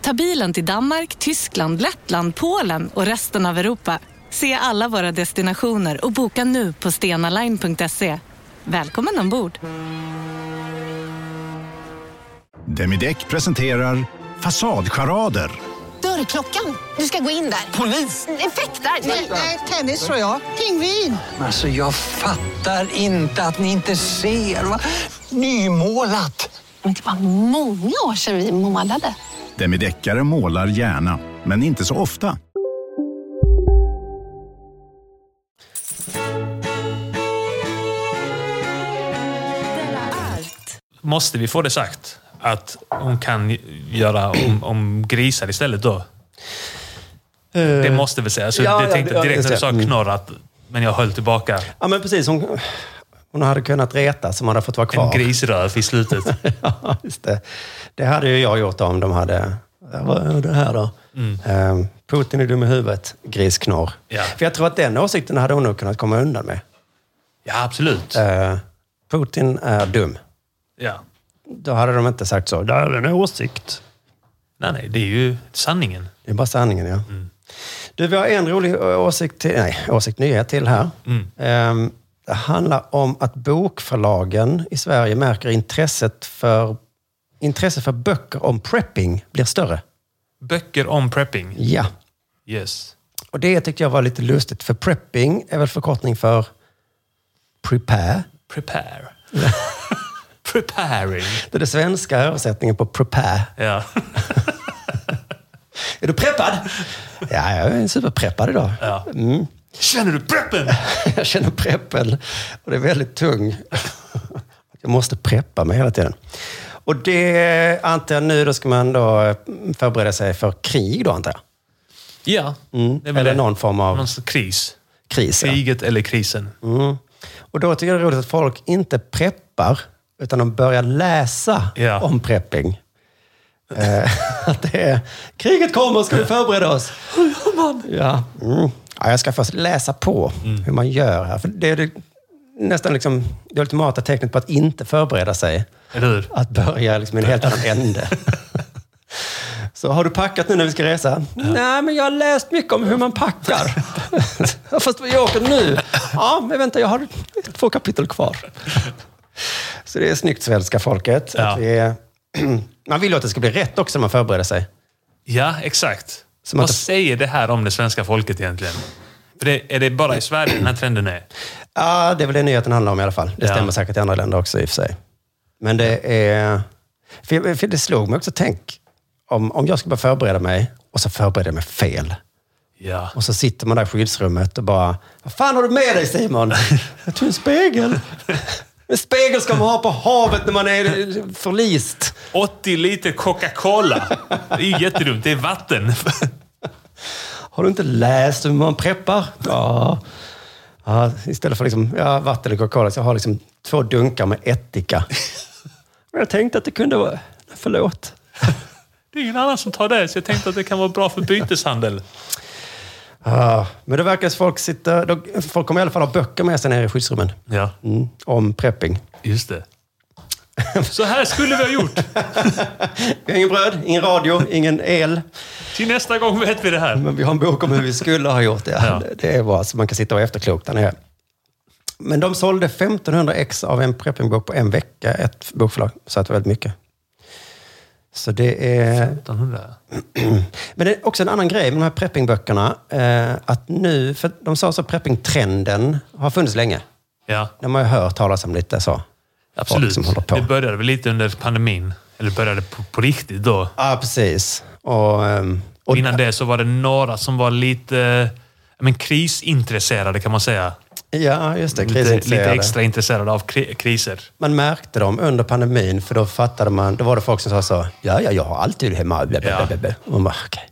Ta bilen till Danmark, Tyskland, Lettland, Polen och resten av Europa. Se alla våra destinationer och boka nu på stenaline.se. Välkommen ombord! Demideck presenterar Fasadcharader. Dörrklockan. Du ska gå in där. Polis? Effektar? Nej, tennis tror jag. Pingvin. Alltså jag fattar inte att ni inte ser. Va? Nymålat! Men det var många år sedan vi målade. Demideckare målar gärna, men inte så ofta. Måste vi få det sagt? Att hon kan göra om, om grisar istället då? Det måste väl sägas. Så Eh, ja, jag ja, tänkte ja, direkt just när du det. sa Mm. knorr att... Men jag höll tillbaka. Ja, men precis. Hon, hon hade kunnat reta som hade fått vara kvar. En grisröv i slutet. ja, just det. Det hade ju jag gjort om de hade... Ja, Vad är det här då? Mm. Ehm, Putin är dum i huvudet, grisknorr. Ja. För jag tror att den åsikten hade hon nog kunnat komma undan med. Ja, absolut. Eh, Putin är dum. Ja. Då hade de inte sagt så. Det här är en åsikt. Nej, nej. Det är ju sanningen. Det är bara sanningen, ja. Mm. Du, vi har en rolig ö, åsikt till, nej, åsikt nyhet till här. Mm. Ehm, det handlar om att bokförlagen i Sverige märker intresset för, intresset för böcker om prepping blir större. Böcker om prepping. Ja. Yes. Och det tyckte jag var lite lustigt, för prepping är väl förkortning för prepare. Prepare. Preparing. Det är den svenska översättningen på prepare. Ja. Är du preppad? Ja, jag är superpreppad idag. Ja. Mm. Känner du preppen? jag känner preppen. Och det är väldigt tung. jag måste preppa mig hela tiden. Och det antar jag nu, då ska man då förbereda sig för krig då antar jag. Ja. Mm. är väl Eller det. någon form av Någon slags kris. kris. Ja. Kriget eller krisen. Mm. Och då tycker jag det är roligt att folk inte preppar, utan de börjar läsa Ja. om prepping. Eh, Att det är, kriget kommer, ska vi förbereda oss? Ja. Mm. ja, jag ska först läsa på hur man gör här. För det är det, nästan liksom det ultimata tecknet på att inte förbereda sig. Eller hur? Att börja liksom i en helt annan ände. Så har du packat nu när vi ska resa? Nej, men jag har läst mycket om hur man packar. Ja, Fast jag åker nu. Ja, men vänta, jag har två kapitel kvar. Så det är snyggt, svenska folket. Att vi är, man vill ju att det ska bli rätt också när man förbereder sig. Ja, exakt. Som Vad att det- säger det här om det svenska folket egentligen? För det, är det bara i Sverige den här trenden är? Ja, det är väl det nyheten handlar om i alla fall. Det Ja. stämmer säkert i andra länder också i och för sig. Men det är... För, jag- för det slog mig också, tänk om, om jag ska börja förbereda mig och så förbereder jag mig fel. Ja. Och så sitter man där i skyddsrummet och bara, vad fan har du med dig Simon? Jag tog en spegel. En spegel ska man ha på havet när man är förlist. 80 liter Coca-Cola. Det är ju jättedumt. Det är vatten. Har du inte läst hur man preppar? Ja. ja istället för liksom, ja, vatten eller Coca-Cola, så jag har liksom två dunkar med ättika. Men jag tänkte att det kunde vara... Förlåt. det är ingen annan som tar det, så jag tänkte att det kan vara bra för byteshandel. Ah, men det verkar som folk sitter... de- Folk kommer i alla fall ha böcker med sig nere i skyddsrummen. Ja. Mm, om prepping. Just det. Så här skulle vi ha gjort. Vi har ingen bröd, ingen radio, ingen el. Till nästa gång vet vi det här. Men vi har en bok om hur vi skulle ha gjort det. Det är bra, så man kan sitta och vara efterklok där nere. Men de sålde 1500 ex av en preppingbok på en vecka, ett bokförlag. Så att det var väldigt mycket. Så det är... 1500. Men det är också en annan grej med de här preppingböckerna. Eh, att nu, för de sa så preppingtrenden har funnits länge. Ja, De har ju hört talas om lite så. Folk absolut. som håller på. Det började väl lite under pandemin. Eller började på, på riktigt då. Ja, precis. Och, ehm, Och innan det så var det några som var lite eh, men, krisintresserade kan man säga. ja, just det. Lite, lite Krisintresserade. extra intresserade av kri- kriser. Man märkte dem under pandemin, för då fattade man. Då var det folk som sa så. Ja, ja, jag har alltid hemma. Bla, bla, bla, bla, bla. Och man bara, okej.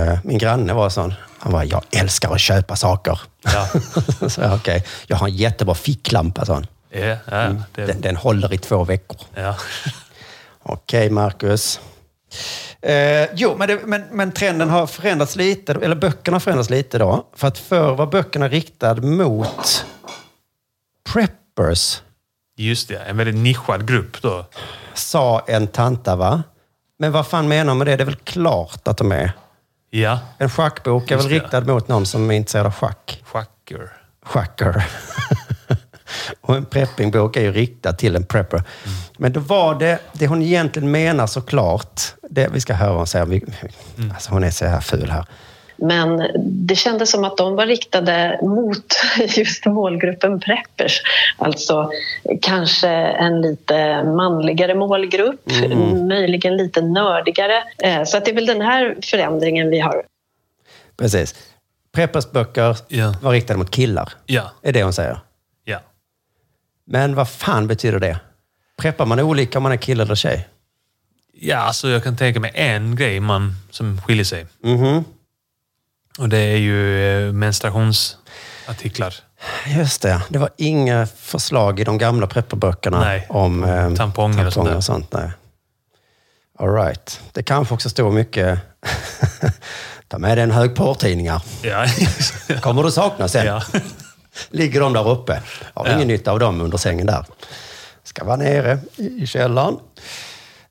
Eh, Min granne var sån. Han bara, jag älskar att köpa saker. Ja. så jag, okej. Jag har en jättebra ficklampa, sa han. Ja, ja, Mm. det, Den, den håller i två veckor. ja. Okej, Marcus. Eh, jo, men, det, men, men trenden har förändrats lite, eller böckerna har förändrats lite då. För att förr var böckerna riktade mot preppers, Just det, en väldigt nischad grupp då. sa en tanta va? Men vad fan menar man med det? Det är väl klart att de är. Ja, En schackbok är väl Just det. riktad mot någon som är intresserad av schack? schacker. Schacker. Och en preppingbok är ju riktad till en prepper. Mm. Men då var det, det hon egentligen menar såklart, det vi ska höra vad hon säga, vi, Mm. alltså hon är så här ful här. Men det kändes som att de var riktade mot just målgruppen preppers. Alltså kanske en lite manligare målgrupp, Mm. möjligen lite nördigare. Eh, Så att det är väl den här förändringen vi har Precis. Preppers böcker var riktade mot killar, Ja, är det hon säger. ja. Men vad fan betyder det? Preppar man olika om man är kille eller tjej? Ja, alltså jag kan tänka mig en grej man, som skiljer sig. Mhm. Och det är ju eh, menstruationsartiklar. Just det. Det var inga förslag i de gamla prepperböckerna Nej. om eh, tamponger, Tamponger och sånt där. och sånt. Nej. All right. Det kanske också står mycket... Ta med dig en hög porrtidningar. Ja. kommer du sakna sen. Ja. Ligger de där uppe. Har Ja. ingen nytta av dem under sängen där. Ska vara nere i i källaren.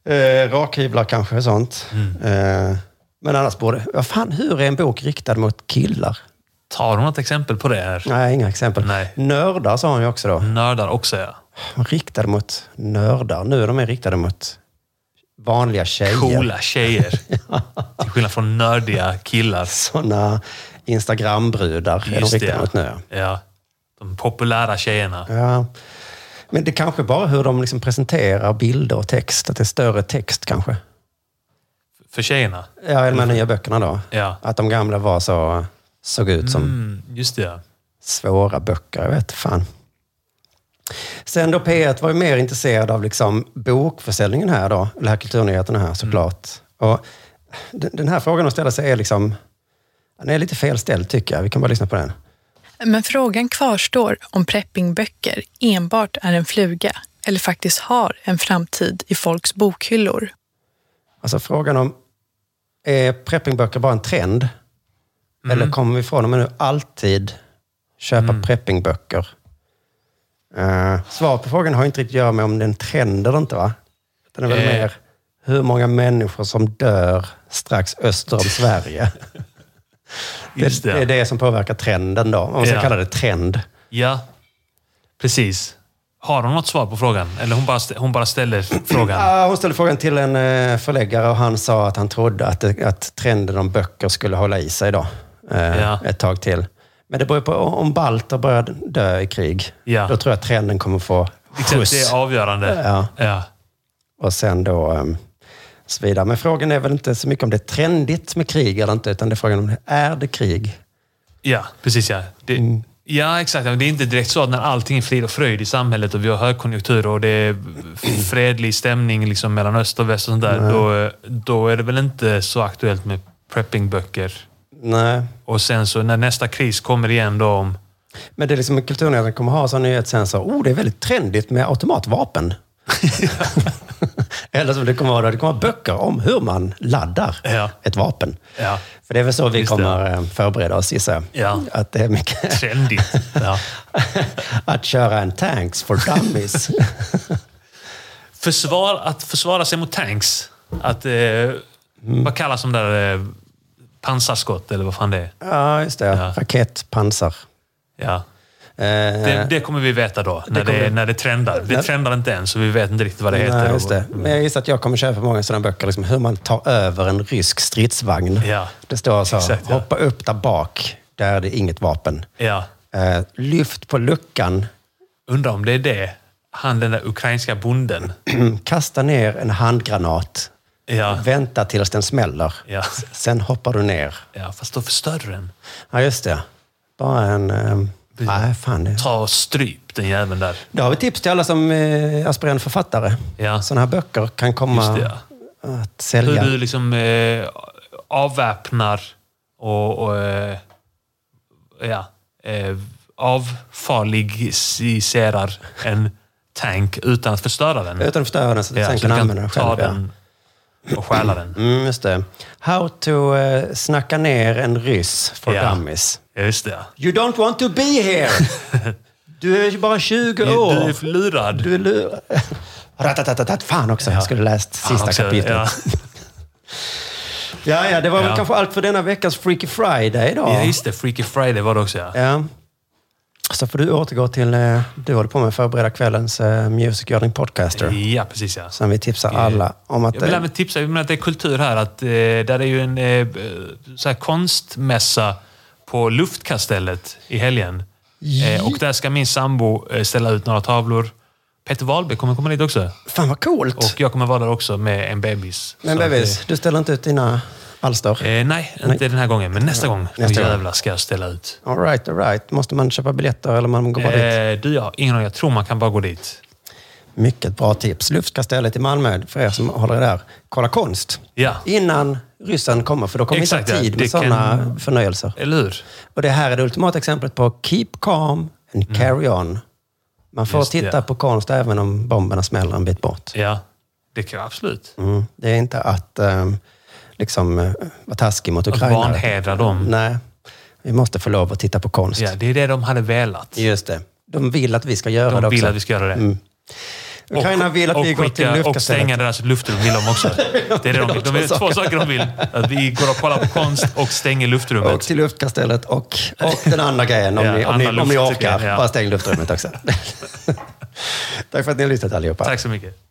Eh, rakhyvlar kanske och sånt. Mm. Eh, men annars borde... Vad fan, hur är en bok riktad mot killar? Tar hon något exempel på det här? Nej, inga exempel. Nej. Mm. Nördar sa han ju också då. Nördar också, ja. riktade mot nördar. Nu är de mer riktade mot vanliga tjejer. Coola tjejer. Till skillnad från nördiga killar. Sådana Instagram-brudar är de Just det, riktade ja. mot nu. ja. De populära tjejerna. Ja. Men det kanske bara hur de liksom presenterar bilder och text. Att det är större text kanske. För tjejerna? Ja, eller de nya böckerna då. Ja. Att de gamla var så, såg ut som Mm, just det, ja. svåra böcker. Jag vet fan. Sen då P1 var ju mer intresserad av liksom bokförsäljningen här då, eller här kulturnyheterna här såklart. Och den den här frågan att ställa sig är liksom, den är lite felställd tycker jag. Vi kan bara lyssna på den. Men frågan kvarstår om preppingböcker enbart är en fluga eller faktiskt har en framtid i folks bokhyllor. Alltså frågan om, är preppingböcker bara en trend? Mm. Eller kommer vi från dem nu alltid köpa preppingböcker? Eh, svar på frågan har inte riktigt att göra med om det är en trend eller inte va? Den är väl Eh. mer hur många människor som dör strax öster om Sverige. Just det. det är det. det som påverkar trenden då, om man ska Ja. kalla det trend. Ja, precis. Har hon något svar på frågan? Eller hon bara, st- hon bara ställer frågan? Ja, hon ställde frågan till en eh, förläggare och han sa att han trodde att, det- att trenden om böcker skulle hålla i sig då, eh, Ja. ett tag till. Men det beror på om balter börjar dö i krig. Ja. Då tror jag att trenden kommer få Exakt, Liksom, det skjuts. är avgörande. Ja. Ja. Och sen då eh, så vidare. Men frågan är väl inte så mycket om det är trendigt med krig eller inte, utan det är frågan om det är det krig. Ja, precis ja. Det, Ja, exakt. Men Det är inte direkt så att när allting är frid och fröjd i samhället och vi har högkonjunktur och det är fredlig stämning liksom mellan öst och väst och sånt där, Nej. då, då är det väl inte så aktuellt med preppingböcker. Nej. Och sen så när nästa kris kommer igen då om... Men det är liksom kulturnyheterna kommer ha sån nyhetssensor. Oh, det är väldigt trendigt med automatvapen. Eller som det kommer vara, det kommer vara böcker om hur man laddar ett vapen. Ja. För det är väl så vi Just det. kommer eh, förbereda oss, gissar jag. Ja. Att det är mycket... Trendigt. Ja. att köra en tanks for dummies. Försvar, att försvara sig mot tanks. Att, eh, Vad kallas de där eh, pansarskott eller vad fan det är? ja, just det. Raketpansar. Ja. Eh, Det, det kommer vi veta då, när det, kommer- när det trendar. Det trendar inte än, så vi vet inte riktigt vad det heter. Nej, just det. Men jag gissar att jag kommer köpa många sådana böcker, liksom hur man tar över en rysk stridsvagn. Ja. Det står så, Exakt, ja. hoppa upp där bak, där är det inget vapen. Ja. Eh, lyft på luckan, Undrar om det är det, han den där ukrainska bonden. kasta ner en handgranat, Ja. vänta tills den smäller. Ja. Sen hoppar du ner. Ja, fast då förstör du den. Ja, just det. Bara en... ehm, Nej, fan. Det. Ta och stryp den jäveln där. Då har vi tips till alla som eh, aspirerande författare. Ja. Sådana här böcker kan komma Just det, att sälja. Hur du liksom eh, avväpnar och, och eh, ja, eh, avfarligiserar en tank utan att förstöra den. Utan att förstöra den så att sen du kan använda den ta själv, ja. den och stjäla den. Mm, just det. How to eh, snacka ner en ryss for Ja. dummies. Just det. You don't want to be here! Du är ju bara 20 Du- du år. är lurad. Du är lurad. Ratatatatat. Fan också, jag skulle läst Fan sista också, kapitlet. ja. Ja. ja, det var Ja. väl kanske allt för denna veckans Freaky Friday då. Ja, just det. Freaky Friday var det också, ja. Ja. Så får du återgå till... eh, Du håller på med att förbereda kvällens eh, Music Yearning Podcaster. Ja, precis ja. Som vi tipsar alla om att... Jag vill eh, även tipsa om att det är kultur här. Att, eh, där är ju en eh, så här konstmässa på Luftkastellet i helgen. Eh, och där ska min sambo eh, ställa ut några tavlor. Peter Wahlberg kommer komma dit också. Fan vad coolt! Och jag kommer vara där också med en bebis. Men Så att, bebis, du ställer inte ut dina alster? eh, eh, nej, inte den här gången. Men nästa gång. Nästa Nästa gång. jävlar ska jag ställa ut. All right, all right. Måste man köpa biljetter eller man går bara dit? Eh, du, jag har ingen aning. Jag tror man kan bara gå dit. Mycket bra tips. Luftkastellet i Malmö, för er som håller er där. Kolla konst. Ja. Innan ryssen kommer, för då kommer vi inte ha Exakt, ja. tid Det med sådana kan- förnöjelser. Eller hur? Och det här är det ultimata exemplet på keep calm and carry on. Man får Mm. Just det, titta ja. på konst även om bomberna smäller en bit bort. Ja, det kan jag absolut. Mm. Det är inte att ehm, liksom, eh, vara taskig mot Att Ukraina. vanhedra dem. Nej, vi måste få lov att titta på konst. Ja, det är det de hade velat. Just det. De vill att vi ska göra det De också. vill att vi ska göra det. Mm. Ukraina vill att och vi går skicka- till Och stänga luftkastellet. deras luftrum vill de också. Det är det de vill. De vill två saker de vill. Att vi går och kollar på konst och stänger luftrummet. Och till luftkastellet och, och den andra grejen, om, Ja, ni, om, ni, andra om ni luftgrejen, orkar. ja. Bara stäng luftrummet också. Tack för att ni har lyssnat allihopa. Tack så mycket.